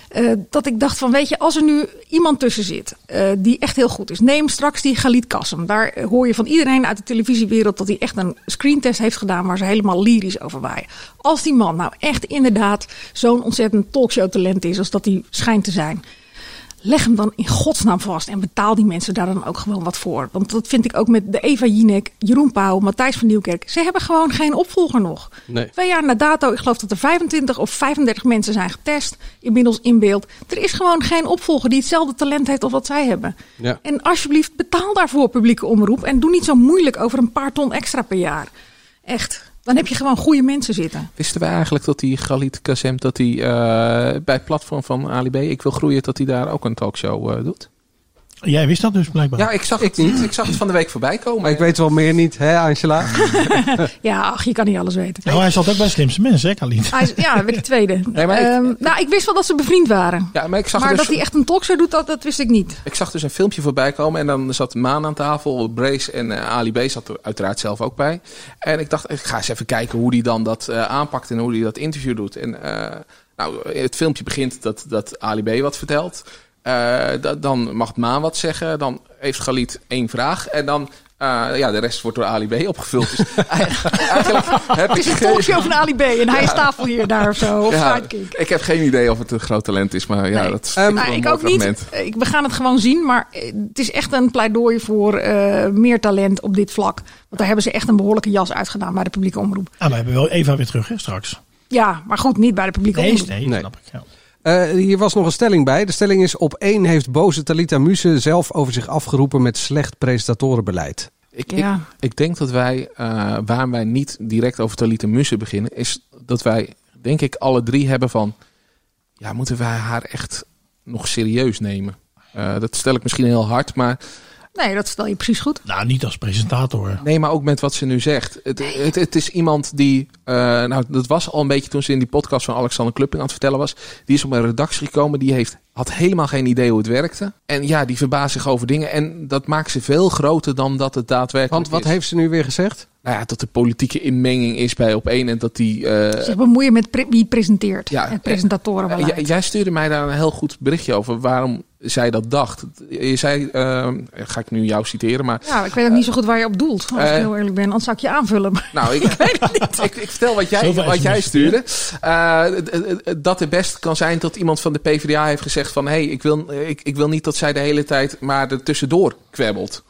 N: Eh, dat ik dacht van, weet je, als er nu iemand tussen zit eh, die echt heel goed is. Neem straks die Galit Kassem. Daar eh, hoor je van iedereen uit de televisiewereld dat hij echt een screentest heeft gedaan waar ze helemaal lyrisch over waaien. Als die man nou echt inderdaad zo'n ontzettend talkshow talent is als dat hij schijnt te zijn. Leg hem dan in godsnaam vast en betaal die mensen daar dan ook gewoon wat voor. Want dat vind ik ook met de Eva Jinek, Jeroen Pauw, Matthijs van Nieuwkerk. Ze hebben gewoon geen opvolger nog.
G: Nee.
N: Twee jaar na dato, ik geloof dat er 25 of 35 mensen zijn getest, inmiddels in beeld. Er is gewoon geen opvolger die hetzelfde talent heeft of wat zij hebben.
G: Ja.
N: En alsjeblieft, betaal daarvoor publieke omroep en doe niet zo moeilijk over een paar ton extra per jaar. Echt, dan heb je gewoon goede mensen zitten.
H: Wisten wij eigenlijk dat die Galit Kazem, dat hij eh, bij het platform van Ali B, Ik Wil Groeien, dat hij daar ook een talkshow eh, doet?
D: Jij wist dat dus blijkbaar.
H: Ja, ik zag het niet. Ik zag het van de week voorbij komen.
G: Maar ik weet wel meer niet, hè Angela?
N: Ja, ach, je kan niet alles weten.
D: Nou, hij zat ook bij de slimste mensen, hè, Kalien?
N: Hij is- Ah, ja, weer de tweede.
H: Nee, maar ik-
N: Ehm, nou, ik wist wel dat ze bevriend waren.
H: Ja, maar ik zag
N: maar
H: dus-
N: dat hij echt een talkshow doet, dat, dat wist ik niet.
H: Ik zag dus een filmpje voorbij komen en dan zat Maan aan tafel, Brace en eh, Ali B zat er uiteraard zelf ook bij. En ik dacht, ik ga eens even kijken hoe die dan dat eh, aanpakt en hoe die dat interview doet. En eh, nou, het filmpje begint dat, dat Ali B wat vertelt. Eh, da- dan mag Maan wat zeggen, dan heeft Galit één vraag en dan... eh, ja, de rest wordt door Ali B opgevuld. Dus eigenlijk
N: Het
H: heb
N: is een
H: ik
N: talkshow van Ali B. En hij is
H: Ja.
N: tafel hier daar of zo. Of
H: Ja,
N: sidekick.
H: ik heb geen idee of het een groot talent is, maar ja, dat is
N: Nou,
H: wel een
N: ik
H: mooi
N: ook niet.
H: fragment.
N: Ik, we gaan het gewoon zien. Maar eh, het is echt een pleidooi voor eh, meer talent op dit vlak. Want daar hebben ze echt een behoorlijke jas uitgedaan bij de publieke omroep.
D: Ah, we hebben wel Eva weer terug, hè, straks.
N: Ja, maar goed, niet bij de publieke
D: Nee,
N: omroep.
D: nee, snap ik. Ja.
G: Eh, hier was nog een stelling bij. De stelling is: op één heeft boze Talita Muse zelf over zich afgeroepen met slecht presentatorenbeleid.
H: Ik,
N: Ja.
H: ik, ik denk dat wij, eh waarom wij niet direct over Talita Musse beginnen, is dat wij, denk ik, alle drie hebben van, ja, moeten wij haar echt nog serieus nemen? Eh, dat stel ik misschien heel hard, maar
N: Nee, dat stel je precies goed.
D: Nou, niet als
N: Dus
D: presentator.
H: nee, maar ook met wat ze nu zegt. Het, het, het is iemand die, eh, nou, dat was al een beetje toen ze in die podcast van Alexander Klupping aan het vertellen was. Die is op een redactie gekomen, die heeft, had helemaal geen idee hoe het werkte. En ja, die verbaast zich over dingen en dat maakt ze veel groter dan dat het daadwerkelijk
G: Want wat
H: is.
G: heeft ze nu weer gezegd?
H: Nou ja, dat er politieke inmenging is bij op één en dat die. eh,
N: Zich bemoeien met pre- wie presenteert.
H: Ja,
N: het presentatorenbeleid.
H: J- jij stuurde mij daar een heel goed berichtje over waarom zij dat dacht. Je zei, eh, ga ik nu jou citeren, maar.
N: Ja, ik weet ook niet zo goed waar je op doelt. Als
H: eh,
N: ik heel eerlijk ben, anders zou ik je aanvullen. maar-
H: Nou, ik, ik, ik vertel wat jij,
N: Zoveel
H: wat jij
N: SMS.
H: stuurde. Eh, d- d- d- dat het best kan zijn dat iemand van de PvdA heeft gezegd van... hé, hey, ik, wil, ik, ik wil niet dat zij de hele tijd maar er tussendoor kwebbelt.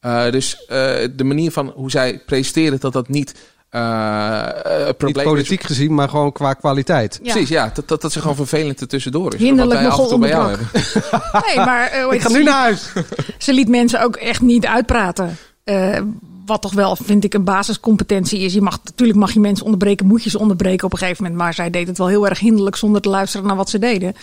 H: Eh, dus eh, de manier van hoe zij presteren, dat dat niet eh, eh, het probleem
G: Niet politiek gezien, maar gewoon qua kwaliteit.
H: Is, precies, ja. Dat, dat, dat ze gewoon vervelend ertussendoor is. Wat
N: Hinderlijk
H: wij af en
N: nogal
H: toe bij jou
N: onderbrak.
H: hebben.
N: Nee, maar, eh, hoe
G: Ik
N: heet
G: ga
N: het,
G: nu
N: ze
G: naar
N: liet-
G: huis.
N: Ze liet mensen ook echt niet uitpraten. Eh, wat toch wel, vind ik, een basiscompetentie is. Je mag, natuurlijk mag je mensen onderbreken, moet je ze onderbreken op een gegeven moment. Maar zij deed het wel heel erg hinderlijk zonder te luisteren naar wat ze deden.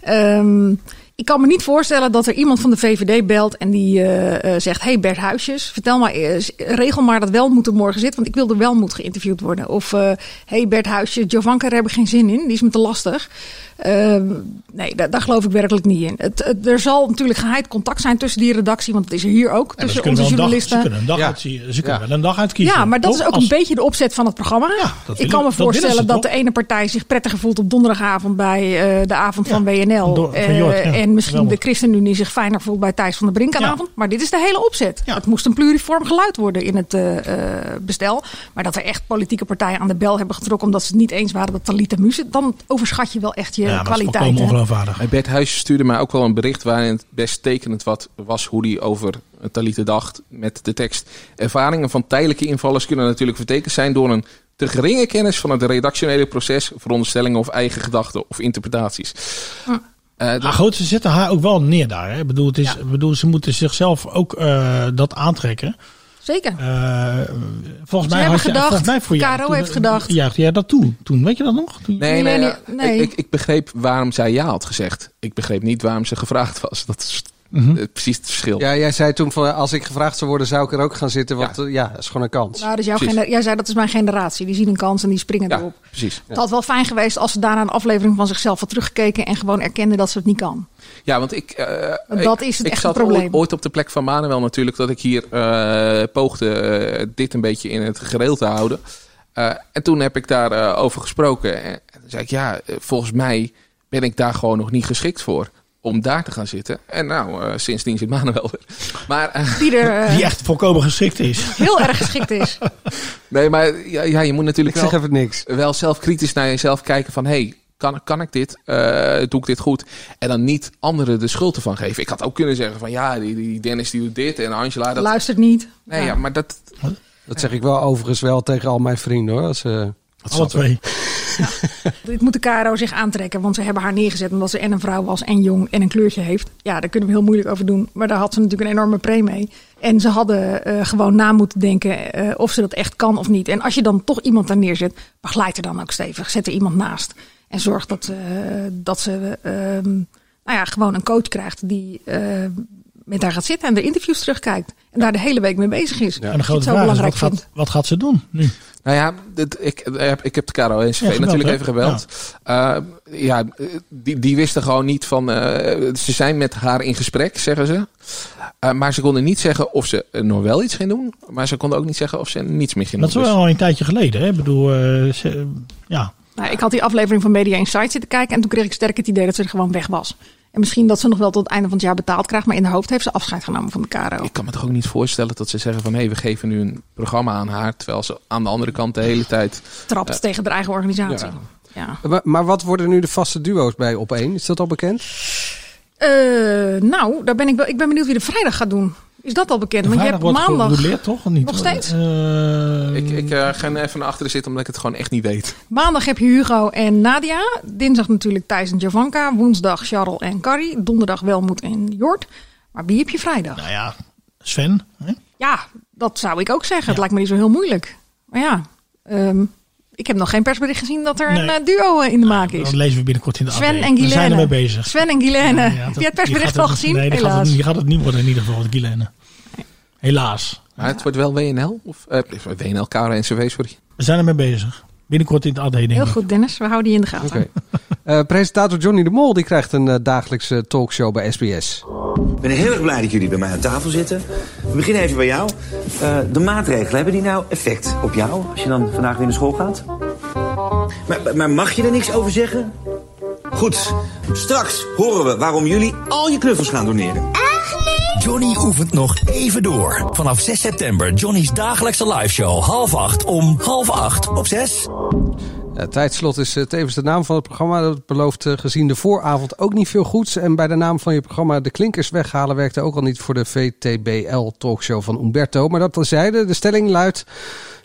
N: Ehm, ik kan me niet voorstellen dat er iemand van de VVD belt en die eh, eh, zegt... hey Bert Huisjes, vertel maar eens, regel maar dat Welmoed er morgen zit... want ik wil er Welmoed geïnterviewd worden. Of eh hey Bert Huisjes, Jovanka, daar heb ik geen zin in, die is me te lastig. Ehm, nee, daar, daar geloof ik werkelijk niet in. Het, het- er zal natuurlijk geheid contact zijn tussen die redactie... want het is er hier ook,
D: Ja, maar
N: tussen
D: ze kunnen
N: onze
D: wel een dag, ze
N: journalisten.
D: kunnen een dag, uit, ze kunnen wel een dag uitkiezen.
N: Ja, maar dat
D: toch?
N: is ook
D: Als-
N: een beetje de opzet van het programma.
D: dat willen-
N: ik kan me
D: dat willen
N: voorstellen
D: ze
N: dat de
D: toch?
N: ene partij zich prettiger voelt op donderdagavond bij eh, de avond van WNL.
D: door- van
N: Eh,
D: Jort, ja.
N: En misschien de
D: Geweldig.
N: ChristenUnie zich fijner voelt bij Thijs van der Brink aan de
D: Ja.
N: avond. Maar dit is de hele opzet. Het moest een pluriform geluid worden in het eh, eh, bestel. Maar dat er echt politieke partijen aan de bel hebben getrokken omdat ze het niet eens waren dat Talita Muze. Dan overschat je wel echt je kwaliteiten.
H: En Bert Huis stuurde mij ook wel een bericht waarin het best tekenend wat was hoe hij over Talita dacht met de tekst. Ervaringen van tijdelijke invallers kunnen natuurlijk vertekend zijn door een te geringe kennis van het redactionele proces, veronderstellingen of eigen gedachten of interpretaties.
N: Hm.
H: Eh,
D: Maar goed, ze zetten haar ook wel neer daar. Hè? Ik bedoel, het is, ik bedoel, ze moeten zichzelf ook eh, dat aantrekken.
N: Zeker.
D: Eh, volgens,
N: Ze
D: mij
N: hebben
D: had je,
N: gedacht,
D: volgens mij voor jou,
N: Caro
D: toen-
N: heeft gedacht.
D: Juichte jij dat toe? Toen, weet je dat nog? Toen-
H: Nee,
N: Nee,
H: nee,
N: nee,
H: ja,
N: nee.
H: Ik, ik, ik begreep waarom zij ja had gezegd. Ik begreep niet waarom ze gevraagd was. Dat is eh, precies het verschil.
G: Ja, jij zei toen van als ik gevraagd zou worden, zou ik er ook gaan zitten. Want eh, ja, dat is gewoon een kans.
N: Nou, dus jouw
G: Precies.
N: gener- jij zei dat is mijn generatie. Die zien een kans en die springen erop.
H: Precies.
N: Het had wel fijn geweest als ze daarna een aflevering van zichzelf had teruggekeken en gewoon erkende dat ze het niet kan.
H: Ja, want ik. eh,
N: Want
H: ik-
N: dat is het
H: ik
N: echte
H: zat
N: probleem.
H: Ooit, ooit op de plek van Manuel natuurlijk dat ik hier eh, poogde eh, dit een beetje in het gereel te houden. Eh, en toen heb ik daarover over gesproken. En, en toen zei ik, ja, eh, volgens mij ben ik daar gewoon nog niet geschikt voor. Om daar te gaan zitten. En nou, eh, sindsdien zit Manuel weer. Maar, eh,
N: Die er eh,
D: Die echt volkomen geschikt is.
N: heel erg geschikt is.
H: Nee, maar ja, ja, je moet natuurlijk
G: Ik zeg
H: wel,
G: even niks.
H: wel zelf kritisch naar jezelf kijken van... Hey, kan, kan ik dit? Eh, doe ik dit goed? En dan niet anderen de schuld ervan geven. Ik had ook kunnen zeggen van... Ja, die, die Dennis die doet dit en Angela... Dat,
N: Luistert niet.
H: nee, ja. maar dat...
G: Dat zeg ik wel overigens wel tegen al mijn vrienden hoor. Als, eh,
D: Alle twee.
N: Dit moet de Caro zich aantrekken, want ze hebben haar neergezet omdat ze en een vrouw was en jong en een kleurtje heeft. Ja, daar kunnen we heel moeilijk over doen. Maar daar had ze natuurlijk een enorme pre mee. En ze hadden eh, gewoon na moeten denken eh, of ze dat echt kan of niet. En als je dan toch iemand daar neerzet, begeleid er dan ook stevig. Zet er iemand naast. En zorg dat, eh, dat ze ehm, nou ja, gewoon een coach krijgt die eh, met haar gaat zitten en de interviews terugkijkt. En daar de hele week mee bezig is.
D: En de
N: Dat je het
D: grote
N: zo
D: vraag is,
N: belangrijk
D: wat gaat,
N: vindt.
D: wat gaat ze doen nu?
H: Nou ja, dit, ik, eh, heb- ik heb de Caro en
D: Ja, gebeld,
H: natuurlijk
D: hè?
H: even gebeld. Ja, ja eh, die, die wisten gewoon niet van... eh, ze zijn met haar in gesprek, zeggen ze. Eh, maar ze konden niet zeggen of ze eh, nog wel iets ging doen. Maar ze konden ook niet zeggen of ze niets meer ging
D: Dat
H: doen.
D: is wel
H: Dus-
D: al een tijdje geleden. Hè? Ik bedoel, eh, ze- ja.
N: Nou, ik had die aflevering van Media Insight zitten kijken. En toen kreeg ik sterk het idee dat ze er gewoon weg was. En misschien dat ze nog wel tot het einde van het jaar betaald krijgt. Maar in haar hoofd heeft ze afscheid genomen van de Caro.
H: Ik kan me toch ook niet voorstellen dat ze zeggen van... hé, we geven nu een programma aan haar... terwijl ze aan de andere kant de hele tijd...
N: Trapt
H: Eh,
N: tegen de eigen organisatie.
H: ja.
N: Ja.
G: Maar, maar wat worden nu de vaste duo's bij op één? Is dat al bekend?
N: Eh, nou, daar ben ik, wel, ik ben benieuwd wie de vrijdag gaat doen. Is dat al bekend? Want je
D: Vrijdag
N: hebt
D: wordt
N: maandag.
D: gerouleerd, toch? Of niet?
N: Nog steeds?
D: Eh,
H: Ik, ik eh, ga even naar achteren zitten omdat ik het gewoon echt niet weet.
N: Maandag heb je Hugo en Nadia. Dinsdag natuurlijk Thijs en Jovanka. Woensdag Charles en Carrie. Donderdag Welmoed en Jort. Maar wie heb je vrijdag?
D: nou ja, Sven. Hè?
N: Ja, dat zou ik ook zeggen. Het lijkt me niet zo heel moeilijk. Maar ja, ehm, ik heb nog geen persbericht gezien dat er een
D: Nee. Ah,
N: eh, duo eh, in de maak is.
D: Dat lezen we binnenkort in de AD.
N: Sven en
D: We
N: Guilaine.
D: zijn ermee bezig.
N: Sven en Guilaine.
D: Ja,
N: heb
D: dat-
N: jij het persbericht
D: die gaat
N: al gezien?
D: Nee, die gaat,
N: Helaas.
D: het, die gaat het niet worden in ieder geval, de Guilaine. Helaas.
H: Maar het wordt wel WNL? Of eh, WNL, Caro en CW, sorry.
D: We zijn ermee bezig. Binnenkort in het AD, denk
N: Heel
D: ik.
N: goed, Dennis. We houden die in de gaten.
G: Oké. Eh, presentator Johnny de Mol die krijgt een eh, dagelijkse talkshow bij SBS.
I: Ik ben heel erg blij dat jullie bij mij aan tafel zitten. We beginnen even bij jou. Eh, de maatregelen, hebben die nou effect op jou als je dan vandaag weer naar school gaat? Maar, maar mag je er niks over zeggen? Goed, straks horen we waarom jullie al je knuffels gaan doneren.
J: Johnny oefent nog even door. Vanaf 6 september Johnny's dagelijkse liveshow half acht om half acht op 6.
G: Ja, tijdslot is eh, tevens de naam van het programma. Dat belooft eh, gezien de vooravond ook niet veel goeds. En bij de naam van je programma De Klinkers Weghalen werkte ook al niet voor de VTBL-talkshow van Umberto. Maar dat terzijde, de stelling luidt...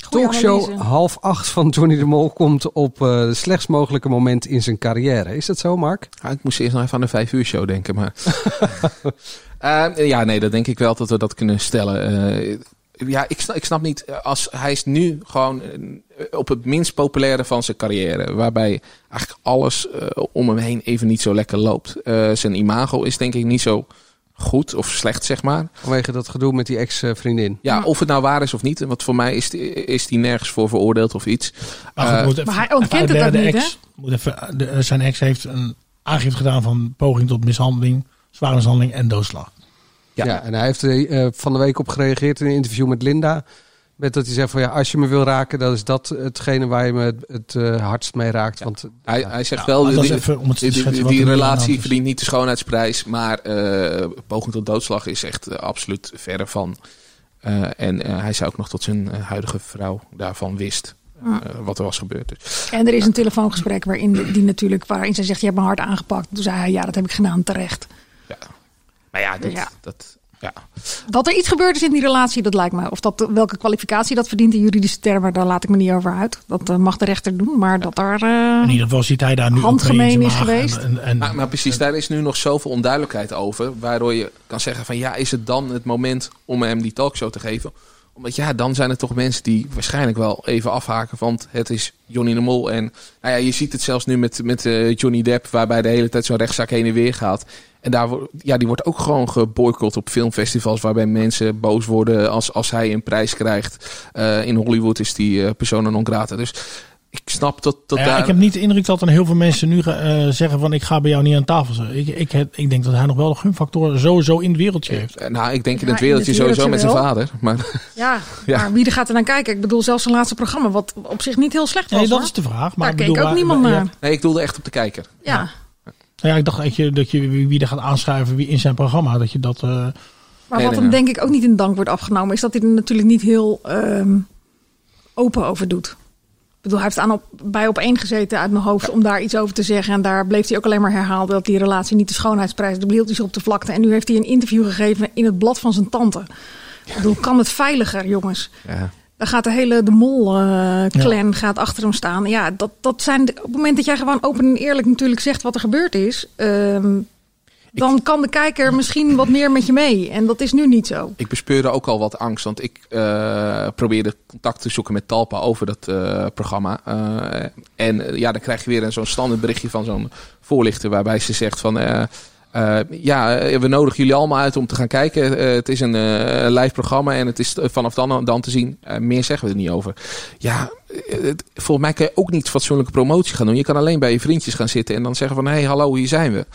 N: Goeie
G: talkshow
N: analyse.
G: half acht van Johnny de Mol komt op eh, het slechtst mogelijke moment in zijn carrière. Is dat zo, Mark?
H: Ah, ik moest eerst nog even aan de vijf uur show denken, maar... Eh, ja, nee, dat denk ik wel dat we dat kunnen stellen. Eh, ja, ik snap, ik snap niet. eh, Als, hij is nu gewoon eh, op het minst populaire van zijn carrière. Waarbij eigenlijk alles eh, om hem heen even niet zo lekker loopt. Eh, zijn imago is denk ik niet zo goed of slecht, zeg maar.
G: Vanwege dat gedoe met die eh, ex-vriendin.
H: Ja, of het nou waar is of niet. Want voor mij is die, is die nergens voor veroordeeld of iets.
D: Maar, Ah, goed,
H: Eh,
D: moet even-
N: maar hij
D: even
N: ontkent het
D: uitleggen,
N: ook
D: de
N: niet,
D: ex, moet even, de, eh, Zijn ex heeft een aangifte gedaan van poging tot mishandeling, zware mishandeling en doodslag.
G: Ja. en hij heeft er eh, van de week op gereageerd in een interview met Linda. Met dat hij zegt van ja, als je me wil raken, dan is dat hetgene waar je me het, het, eh, hardst mee raakt. Want
H: Hij, hij zegt
D: Ja,
H: wel,
D: maar
H: die,
D: dat is even om het te
H: die- die-
D: schetsen wat
H: die
D: er nu aan de hand
H: relatie
D: is.
H: verdient niet de schoonheidsprijs. Maar eh, poging tot doodslag is echt eh, absoluut verre van. Eh, en eh, hij zei ook nog dat zijn eh, huidige vrouw daarvan wist. eh, wat er was gebeurd. Dus.
N: En er is een telefoongesprek waarin de- die natuurlijk, waarin zij zegt: Je hebt me hard aangepakt. Toen zei hij: Ja, dat heb ik gedaan terecht.
H: Maar ja, dat,
N: Ja.
H: Dat, ja.
N: Dat er iets gebeurd is in die relatie, dat lijkt me. Of dat, welke kwalificatie dat verdient in juridische termen, daar laat ik me niet over uit. Dat eh, mag de rechter doen, maar dat daar. eh,
D: In ieder geval ziet hij daar nu ook mee in zijn
N: handgemeen is
D: maag en-
N: geweest.
D: en- en-
H: Maar, maar precies, daar is nu nog zoveel onduidelijkheid over. Waardoor je kan zeggen van ja, is het dan het moment om hem die talkshow te geven? Omdat ja, dan zijn er toch mensen die waarschijnlijk wel even afhaken. Want het is Johnny de Mol. En nou ja, je ziet het zelfs nu met, met eh, Johnny Depp. Waarbij de hele tijd zo'n rechtszaak heen en weer gaat. En daar, wo- ja, die wordt ook gewoon geboycott op filmfestivals. Waarbij mensen boos worden als, als hij een prijs krijgt. Eh, in Hollywood is die eh, persona non grata. Dus ik snap dat, dat
D: Ja,
H: daar...
D: Ik heb niet de indruk dat dan heel veel mensen nu eh, zeggen van ik ga bij jou niet aan tafel zitten. Ik, ik, heb- ik denk dat hij nog wel de gunfactor sowieso in het wereldje heeft.
H: Eh, Nou, ik denk in
N: Ja,
H: het wereldje
N: in het
H: sowieso met
N: wereldje
H: zijn
N: wel.
H: vader. Maar...
N: Ja,
H: Ja.
N: maar wie er gaat er naar kijken? Ik bedoel, zelfs zijn laatste programma, wat op zich niet heel slecht was.
D: Nee, dat
N: hoor.
D: is de vraag. Maar
N: Daar
D: ik
N: keek
D: bedoel,
N: ook
D: waar-
N: niemand
D: waar-
N: naar.
D: ja.
N: Ja.
H: Nee, ik doelde echt op de kijker.
D: Nou ja, ik dacht dat je, dat je wie wie er gaat aanschuiven wie in zijn programma. Dat je dat. eh,
N: Maar
D: Nee,
N: wat
D: nee,
N: hem
D: nee.
N: denk ik ook niet in dank wordt afgenomen, is dat hij er natuurlijk niet heel ehm, open over doet. Ik bedoel, hij heeft aan op, bij op één gezeten uit mijn hoofd om daar iets over te zeggen. En daar bleef hij ook alleen maar herhalen dat die relatie niet de schoonheidsprijs is. Daar hield hij zich op de vlakte. En nu heeft hij een interview gegeven in het blad van zijn tante. Ik bedoel, kan het veiliger, jongens?
H: Ja.
N: Dan gaat de hele de mol-clan gaat achter hem staan. Ja, dat, dat zijn de- op het moment dat jij gewoon open en eerlijk natuurlijk zegt wat er gebeurd is. ehm, dan kan de kijker misschien wat meer met je mee. En dat is nu niet zo.
H: Ik bespeurde ook al wat angst, want ik eh, probeerde contact te zoeken met Talpa over dat eh, programma. Eh, en eh, ja, dan krijg je weer een zo'n standaard berichtje van zo'n voorlichter waarbij ze zegt van... eh, eh, ja, eh, we nodigen jullie allemaal uit om te gaan kijken. Eh, het is een eh, live programma en het is eh, vanaf dan, dan te zien. Eh, meer zeggen we er niet over. Ja, eh, het- volgens mij kan je ook niet fatsoenlijke promotie gaan doen. Je kan alleen bij je vriendjes gaan zitten en dan zeggen van... hé, hey, hallo, hier zijn we.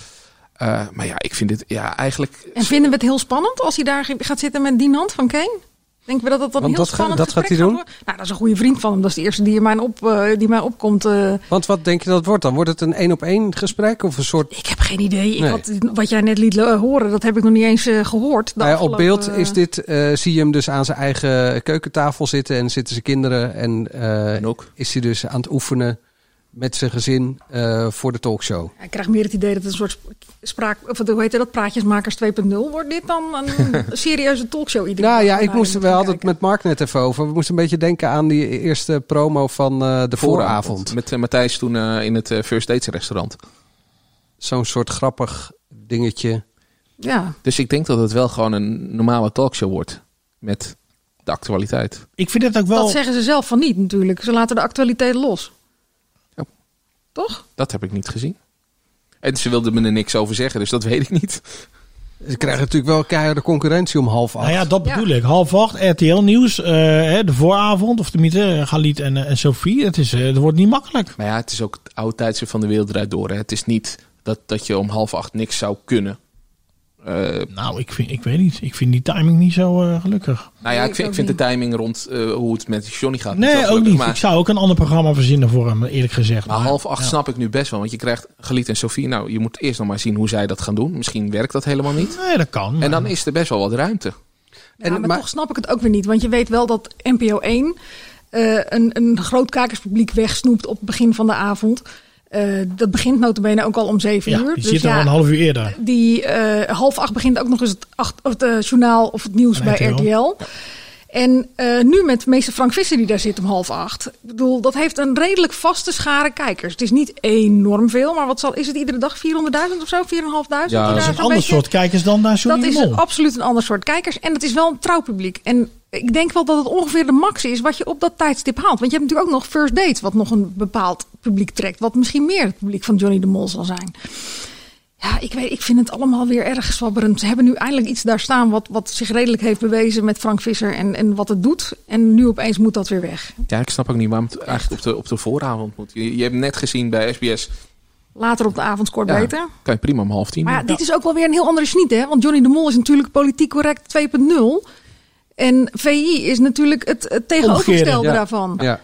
H: Eh, maar ja, ik vind dit ja, eigenlijk
N: En vinden we het heel spannend als hij daar gaat zitten met Dinant van Kane? Denken we dat dat dan
G: Want
N: heel
G: dat ga-
N: spannend
G: dat gaat
N: gesprek
G: hij doen?
N: worden? Nou, dat is een goede vriend van hem. Dat is de eerste die, in mijn op, eh, die mij opkomt. eh.
G: Want wat denk je dat het wordt dan? Wordt het een één op één gesprek of een soort...
N: ik heb geen idee. Ik
G: Nee.
N: had, wat jij net liet eh, horen, dat heb ik nog niet eens eh, gehoord. De
G: Nou ja, op
N: afgelopen,
G: beeld
N: eh,
G: is dit, eh, zie je hem dus aan zijn eigen keukentafel zitten en zitten zijn kinderen. En, eh, is hij dus aan het oefenen met zijn gezin eh, voor de talkshow.
N: Ik krijg meer het idee dat het een soort spraak... Of hoe heet dat? Praatjesmakers 2.0 wordt dit dan? Een serieuze talkshow iedereen.
G: Nou ja, ik moest, we hadden het met Mark net even over. We moesten een beetje denken aan die eerste promo van eh, de vooravond.
H: Met eh, Matthijs toen eh, in het eh, First Dates restaurant.
G: Zo'n soort grappig dingetje.
N: Ja.
H: Dus ik denk dat het wel gewoon een normale talkshow wordt. Met de actualiteit.
D: Ik vind het ook
N: Dat zeggen ze zelf van niet natuurlijk. Ze laten de actualiteit los. Toch?
H: Dat heb ik niet gezien. En ze wilden me er niks over zeggen, dus dat weet ik niet.
G: Ze krijgen natuurlijk wel keiharde concurrentie om half acht.
D: Nou ja, dat bedoel ik. Half acht, RTL nieuws, eh, hè, de vooravond, of tenminste eh, Galit en, eh, en Sophie. Het, is, eh, het wordt niet makkelijk.
H: Maar ja, het is ook het oude tijdstip van de wereld draait door. Hè. Het is niet dat, dat je om half acht niks zou kunnen. Eh,
D: Nou, ik, vind, ik weet niet. Ik vind die timing niet zo eh, gelukkig.
H: nou ja, ik vind, ik vind de timing rond eh, hoe het met Johnny gaat. wel
D: Nee, ook
H: gelukkig,
D: niet.
H: Maar, Ah.
D: Ik zou ook een ander programma verzinnen voor hem, eerlijk gezegd.
H: maar half acht snap ik nu best wel. Want je krijgt Geliet en Sofie. Nou, je moet eerst nog maar zien hoe zij dat gaan doen. Misschien werkt dat helemaal niet.
D: Nee, dat kan.
H: En dan is er best wel wat ruimte.
N: Ja, maar, toch snap ik het ook weer niet. Want je weet wel dat NPO 1... eh, een, een groot kakerspubliek wegsnoept op het begin van de avond. Eh, dat begint notabene ook al om zeven
D: Ja,
N: uur. dus
D: die zit er al een half uur eerder.
N: Die eh, half acht begint ook nog eens het, acht, of het eh, journaal of het nieuws
D: Van
N: bij
D: RTL.
N: RTL. En eh, nu met meester Frank Visser die daar zit om half acht. Ik bedoel, dat heeft een redelijk vaste schare kijkers. Het is niet enorm veel, maar wat zal, is het iedere dag 400.000 of zo? 4.500? die
D: Ja, dat is
N: daar
D: een
N: zo'n
D: ander
N: beetje-
D: soort kijkers dan naar Johnny
N: dat
D: de
N: is
D: Mol.
N: een- absoluut een ander soort kijkers. En het is wel een trouw publiek. En ik denk wel dat het ongeveer de max is wat je op dat tijdstip haalt. Want je hebt natuurlijk ook nog First Date, wat nog een bepaald publiek trekt. Wat misschien meer het publiek van Johnny de Mol zal zijn. Ja, ik, weet, ik vind het allemaal weer erg zwabberend. Ze hebben nu eindelijk iets daar staan wat, wat zich redelijk heeft bewezen met Frank Visser en, en wat het doet. En nu opeens moet dat weer weg.
H: Ja, ik snap ook niet waarom het eigenlijk op de, op de vooravond moet. Je, je hebt net gezien bij SBS.
N: Later op de avond scoort
H: Ja,
N: beter.
H: Kan je prima om half tien.
N: Maar ja,
H: doen.
N: dit is ook wel weer een heel andere sniet, hè? Want Johnny de Mol is natuurlijk politiek correct 2.0. En VI is natuurlijk het, het tegenovergestelde
G: Ja.
N: daarvan.
G: Ja.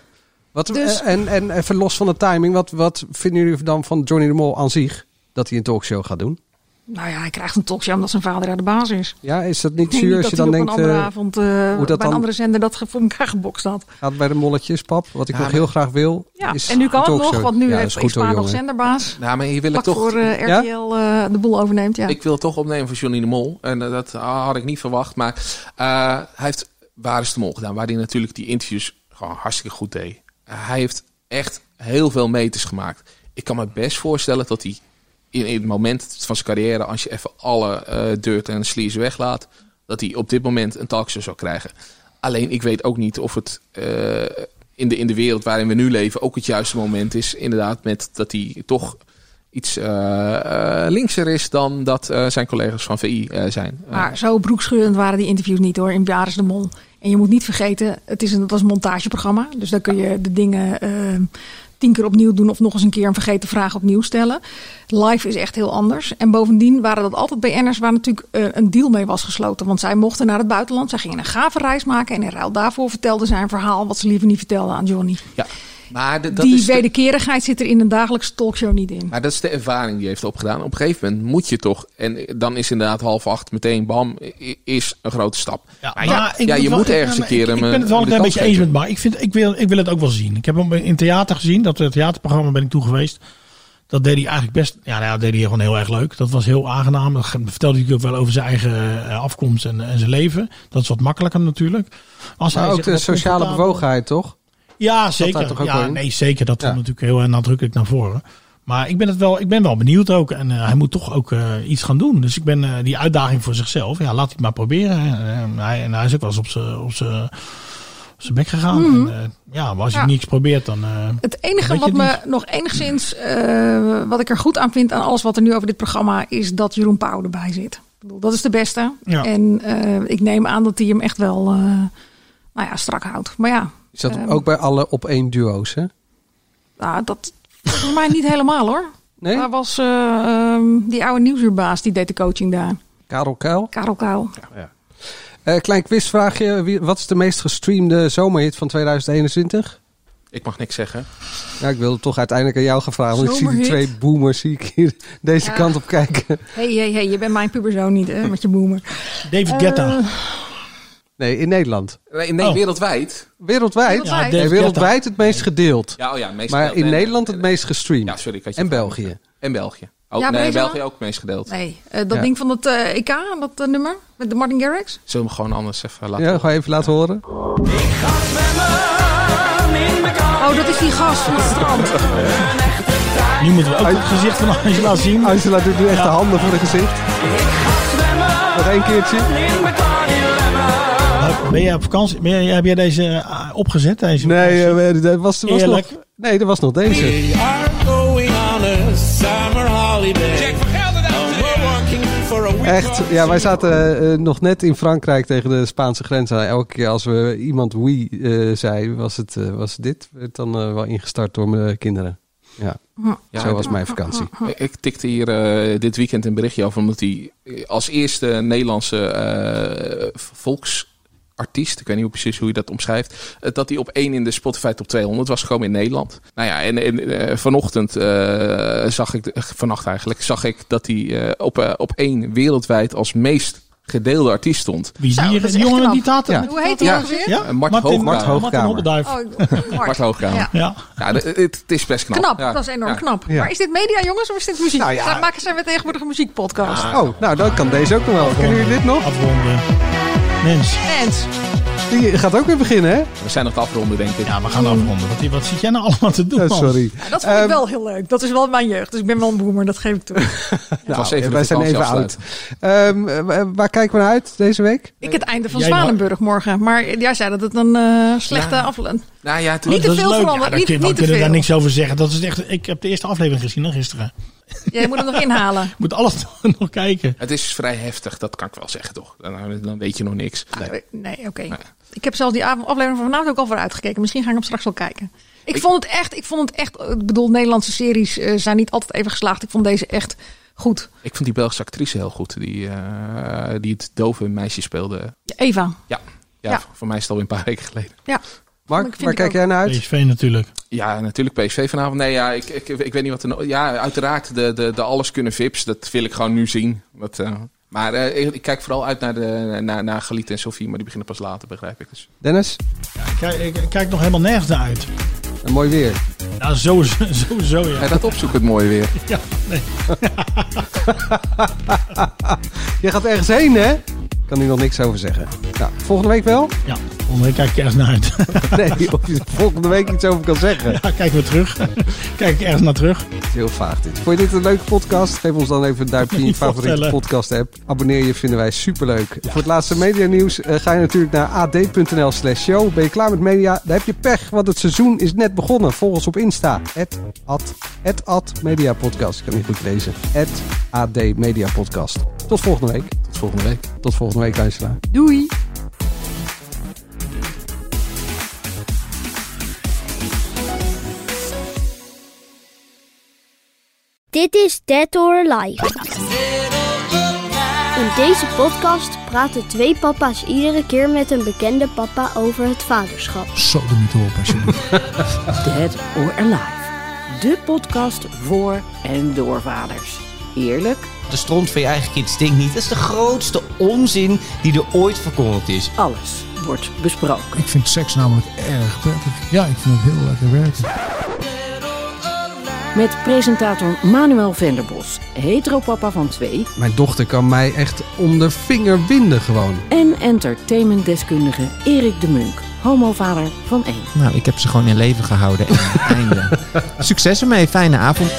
G: Wat, eh,
N: Dus-
G: en, en even los van de timing, wat, wat vinden jullie dan van Johnny de Mol aan zich? Dat hij een talkshow gaat doen?
N: Nou ja, hij krijgt een talkshow omdat zijn vader aan de baas is.
G: Ja, is dat
N: Ik
G: niet
N: denk
G: zuur
N: niet
G: als
N: dat
G: je
N: hij
G: dan
N: op
G: denkt,
N: een andere
G: eh,
N: avond eh,
G: hoe dat
N: bij
G: dan-
N: een andere zender dat ge- voor elkaar gebokst had.
G: gaat bij de molletjes, pap? Wat ik
H: Ja,
G: nog
H: maar-
G: heel graag wil,
N: Ja,
G: is
N: en nu kan
G: een
N: het nog,
G: talkshow.
N: want nu eh,
G: Ja, dat
N: heeft
G: is goed hoor,
N: Isma nog
G: jongen.
N: zenderbaas.
H: Nou, maar hier wil ik
N: Vlak
H: toch...
N: voor eh,
H: Ja?
N: RTL eh, de boel overneemt, ja.
H: Ik wil toch opnemen voor Johnny de Mol. En eh, dat had ik niet verwacht. Maar eh, hij heeft Waar is de Mol gedaan. Waar hij natuurlijk die interviews gewoon hartstikke goed deed. Eh, hij heeft echt heel veel meters gemaakt. Ik kan me best voorstellen dat hij in, in het moment van zijn carrière... als je even alle eh dirt en sleaze weglaat... dat hij op dit moment een talkshow zou krijgen. Alleen ik weet ook niet of het... eh, in de, in de wereld waarin we nu leven ook het juiste moment is. Inderdaad, met dat hij toch iets eh, eh, linkser is dan dat eh, zijn collega's van VI eh, zijn.
N: Maar zo broekschuurend waren die interviews niet hoor, in Jaris de Mol. En je moet niet vergeten, het, is een, het was een montageprogramma. Dus daar kun je de dingen eh, tien keer opnieuw doen... of nog eens een keer een vergeten vraag opnieuw stellen. Live is echt heel anders. En bovendien waren dat altijd BN'ers waar natuurlijk eh, een deal mee was gesloten. Want zij mochten naar het buitenland. Zij gingen een gave reis maken. En in ruil daarvoor vertelden zij een verhaal... wat ze liever niet vertelden aan Johnny.
H: Ja, maar de- dat
N: die
H: is de-
N: wederkerigheid zit er in een dagelijkse talkshow niet in.
H: Maar dat is de ervaring die hij heeft opgedaan. Op een gegeven moment moet je toch. En dan is inderdaad half acht meteen bam, i- is een grote stap. Ja, maar
D: Maar
H: je,
D: ik
H: ja,
D: moet
H: je
D: wel-
H: moet
D: ik-
H: ergens een
D: ik-
H: keer
D: Ik,
H: hem,
D: ik ben
H: eh,
D: het wel een
H: de
D: klein
H: kans
D: beetje eens
H: geven.
D: met Bar. Ik, vind, ik, wil, ik wil het ook wel zien. Ik heb hem in theater gezien. Dat eh, theaterprogramma ben ik toe geweest. Dat deed hij eigenlijk best. Ja, nou, ja, dat deed hij gewoon heel erg leuk. Dat was heel aangenaam. Dat ge- vertelde hij natuurlijk ook wel over zijn eigen eh, afkomst en, en zijn leven. Dat is wat makkelijker natuurlijk. Als
G: Maar
D: hij
G: ook
D: zich
G: de
D: wat
G: sociale
D: comfortabel-
G: bewogenheid, toch?
D: Ja,
G: Zat daar
D: zeker.
G: toch ook wel
D: ja,
G: in?
D: nee, zeker. Dat
G: Ja.
D: komt natuurlijk heel eh, nadrukkelijk naar voren. Maar ik ben, het wel, ik ben wel benieuwd ook. En eh, hij moet toch ook eh, iets gaan doen. Dus ik ben eh, die uitdaging voor zichzelf. Ja, laat hij het maar proberen. Eh, En hij, en hij is ook wel eens op zijn- op zijn op zijn bek gegaan.
N: Mhm.
D: En, eh, ja, maar als je
N: Ja.
D: niks probeert, dan... eh,
N: Het enige
D: dan
N: wat
D: weet je
N: me
D: het niet.
N: nog enigszins, eh, wat ik er goed aan vind aan alles wat er nu over dit programma is, dat Jeroen Pauw erbij zit. Ik bedoel, dat is de beste.
G: Ja.
N: En eh, ik neem aan dat hij hem echt wel, eh, nou ja, strak houdt. Maar ja,
G: Is dat
N: ehm,
G: ook bij alle op één duo's, hè?
N: nou, dat volgens mij niet helemaal hoor.
G: Nee?
N: Daar was eh, ehm, die oude nieuwsuurbaas, die deed de coaching daar.
G: Karel Kuil?
N: Karel Kuil.
G: Eh, klein quizvraagje. Wie- Wat is de meest gestreamde zomerhit van 2021?
H: Ik mag niks zeggen.
G: Ja, ik wil het toch uiteindelijk aan jou gaan vragen. Want ik zie die
N: Zomerhit?
G: twee boomers zie ik hier deze
N: Ja.
G: kant op kijken.
N: Hé, hé, hé, je bent mijn puberzoon niet, hè, met je boomer.
D: David
N: Guetta.
G: Nee, in Nederland.
H: Nee, nee,
G: Oh.
H: wereldwijd.
G: Wereldwijd?
H: Ja,
G: Nee,
H: David
G: wereldwijd het meest gedeeld.
H: Ja, oh ja, meest
G: maar
H: gedeeld.
G: in
H: Nee, nee,
G: Nederland het meest gestreamd.
H: Ja, sorry, ik had je
G: en
H: vraag
G: België.
H: En België. Ook,
N: Ja, maar
H: nee,
N: deze
H: België
N: wel?
H: ook het meest gedeeld.
N: Nee, eh, dat
H: Ja.
N: ding van het eh, EK, dat eh, nummer, met de Martin Garrix.
H: Zullen we hem gewoon anders even laten
G: Ja, gewoon even laten horen.
N: Oh, dat is die gast van het strand.
D: Nu moeten we ook het gezicht van Angela zien.
G: Angela doet nu echt de handen voor het gezicht. Nog één keertje.
D: Eh, Ben jij op vakantie? Ben jij, heb jij deze eh, opgezet? Deze
G: Nee, eh, dat was, was nog,
D: Eerlijk.
G: nee, dat was nog deze. Echt, ja, wij zaten eh, eh, nog net in Frankrijk tegen de Spaanse grens. aan. elke keer als we iemand oui eh, zei, was, het, eh, was dit werd dan eh, wel ingestart door mijn kinderen. Ja,
H: Ja,
G: zo was
H: ik-
G: mijn vakantie.
H: Ik- Ik tikte hier eh, dit weekend een berichtje over, omdat hij eh, als eerste Nederlandse eh, volksartiest, ik weet niet hoe precies hoe je dat omschrijft, eh, dat hij op één in de Spotify top 200 was gekomen in Nederland. Nou ja, en, en eh, vanochtend eh, zag ik, eh, vannacht eigenlijk, zag ik dat hij eh, op, eh, op één wereldwijd als meest gedeelde artiest stond.
D: Wie is die, die jongen met die taten?
H: Ja.
D: met die
N: Hoe heet
D: taten?
N: die ook weer?
D: Ja?
N: Oh,
D: Oh.
H: Eh, Mart Hoogkamer. Mart Hoogkamer.
D: Hobbelduif.
H: Mart Hoogkamer.
N: Ja.
D: Ja.
H: Ja, de- het, het is best knap.
N: Knap,
H: Ja.
N: dat is enorm
H: Ja.
N: knap.
H: Ja.
N: Maar is dit media, jongens, of is dit muziek?
G: Nou ja.
N: Daar maken zij met tegenwoordig een muziekpodcast.
G: Oh, nou dan kan deze ook nog wel. Kennen jullie dit nog?
D: Afronden. Mens.
N: Mens.
G: Die gaat ook weer beginnen, hè?
H: We zijn nog te afronden, denk ik.
D: Ja, we gaan afronden. Wat, wat zit jij nou allemaal te doen,
G: Oh,
D: man?
G: sorry.
N: Ja, dat vond ik wel heel leuk. Dat is wel mijn jeugd. Dus ik ben wel een boomer, dat geef ik toe.
G: Nou,
H: was even
G: wij
H: de
G: zijn even
H: vakantie
G: oud. Ehm, eh, waar kijken we naar uit deze week?
N: Ik het einde van
G: Jij
N: Zwanenburg morgen. Maar jij zei dat het een eh, slechte
H: Ja.
N: aflevering
H: Nou ja, toen-
N: Niet te
D: Dat is
N: veel
D: leuk. Ja,
N: veranderd.
D: daar
N: Niet,
D: kun- we
N: niet te
D: kunnen daar
N: veel.
D: niks over zeggen. Dat is echt, ik heb de eerste aflevering gezien hè, gisteren.
N: Jij moet hem nog inhalen.
D: Ik moet alles nog kijken.
H: Het is vrij heftig, dat kan ik wel zeggen, toch? Dan, dan weet je nog niks.
N: Nee, oké. Ik heb zelfs die av- aflevering van vanavond ook al voor uitgekeken. Misschien ga ik hem straks wel kijken. Ik vond het echt, ik vond het echt, eh, ik bedoel, Nederlandse series eh, zijn niet altijd even geslaagd. Ik vond deze echt goed.
H: Ik vond die Belgische actrice heel goed, die, eh, die het dove meisje speelde.
N: Ja, Eva.
H: Ja. Ja,
N: Ja.
H: voor mij is het alweer een paar weken geleden.
N: Ja.
G: Mark, waar kijk jij naar uit?
D: PSV natuurlijk.
H: Ja, natuurlijk PSV vanavond. Nee, ja, ik, ik, ik weet niet wat er... no- Ja, uiteraard de, de, de alles kunnen vips. Dat wil ik gewoon nu zien. Wat, eh, maar eh, ik, ik kijk vooral uit naar, de, naar, naar Galit en Sofie. Maar die beginnen pas later, begrijp ik. Dus.
G: Dennis?
D: Kijk, ik kijk nog helemaal nergens naar uit.
G: Een mooi weer.
D: Nou, zo, zo, zo, zo, ja.
H: Ga je dat opzoeken, het mooie weer?
D: Ja, nee.
G: Jij gaat ergens heen, hè? Kan nu nog niks over zeggen. Nou, volgende week wel?
D: Ja, volgende week kijk ik ergens naar uit.
G: Nee, of je er volgende week iets over kan zeggen.
D: Ja, kijken we terug. Kijk ik ergens naar terug.
G: Het is heel vaag dit. Vond je dit een leuke podcast? Geef ons dan even een duimpje in je
D: Niet
G: favoriete
D: vertellen.
G: podcast app. Abonneer je, vinden wij superleuk. Voor het laatste media nieuws ga je natuurlijk naar ad.nl slash show. Ben je klaar met media? Dan heb je pech, want het seizoen is net begonnen. Volg ons op Insta. Het ad, het ad media podcast. Ik kan niet goed lezen. Het ad media podcast. Tot volgende week.
H: Tot volgende week.
G: Tot volgende week, luisteraar.
N: Doei.
O: Dit is Dead or Alive. In deze podcast praten twee papa's iedere keer met een bekende papa over het vaderschap.
D: Zo de niet op, alsjeblieft.
P: Dead or Alive. De podcast voor en door vaders. Eerlijk,
Q: De stront van je eigen kind stinkt niet. Dat is de grootste onzin die er ooit verkondigd is.
P: alles wordt besproken.
R: Ik vind seks namelijk erg prettig. Ja, ik vind het heel lekker werken.
P: Met presentator Manuel Venderbos, heteropapa van twee...
G: Mijn dochter kan mij echt om de vinger winden gewoon.
P: en entertainmentdeskundige Erik de Munk, homovader van één.
Q: Nou, ik heb ze gewoon in leven gehouden. En einde. Succes ermee. Fijne avond.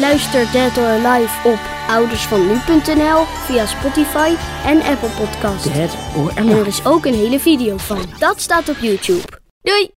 O: Luister Dead or Alive op oudersvannu.nl via Spotify en Apple Podcast.
P: Dead or
O: En er is ook een hele video van. Dat staat op YouTube. Doei!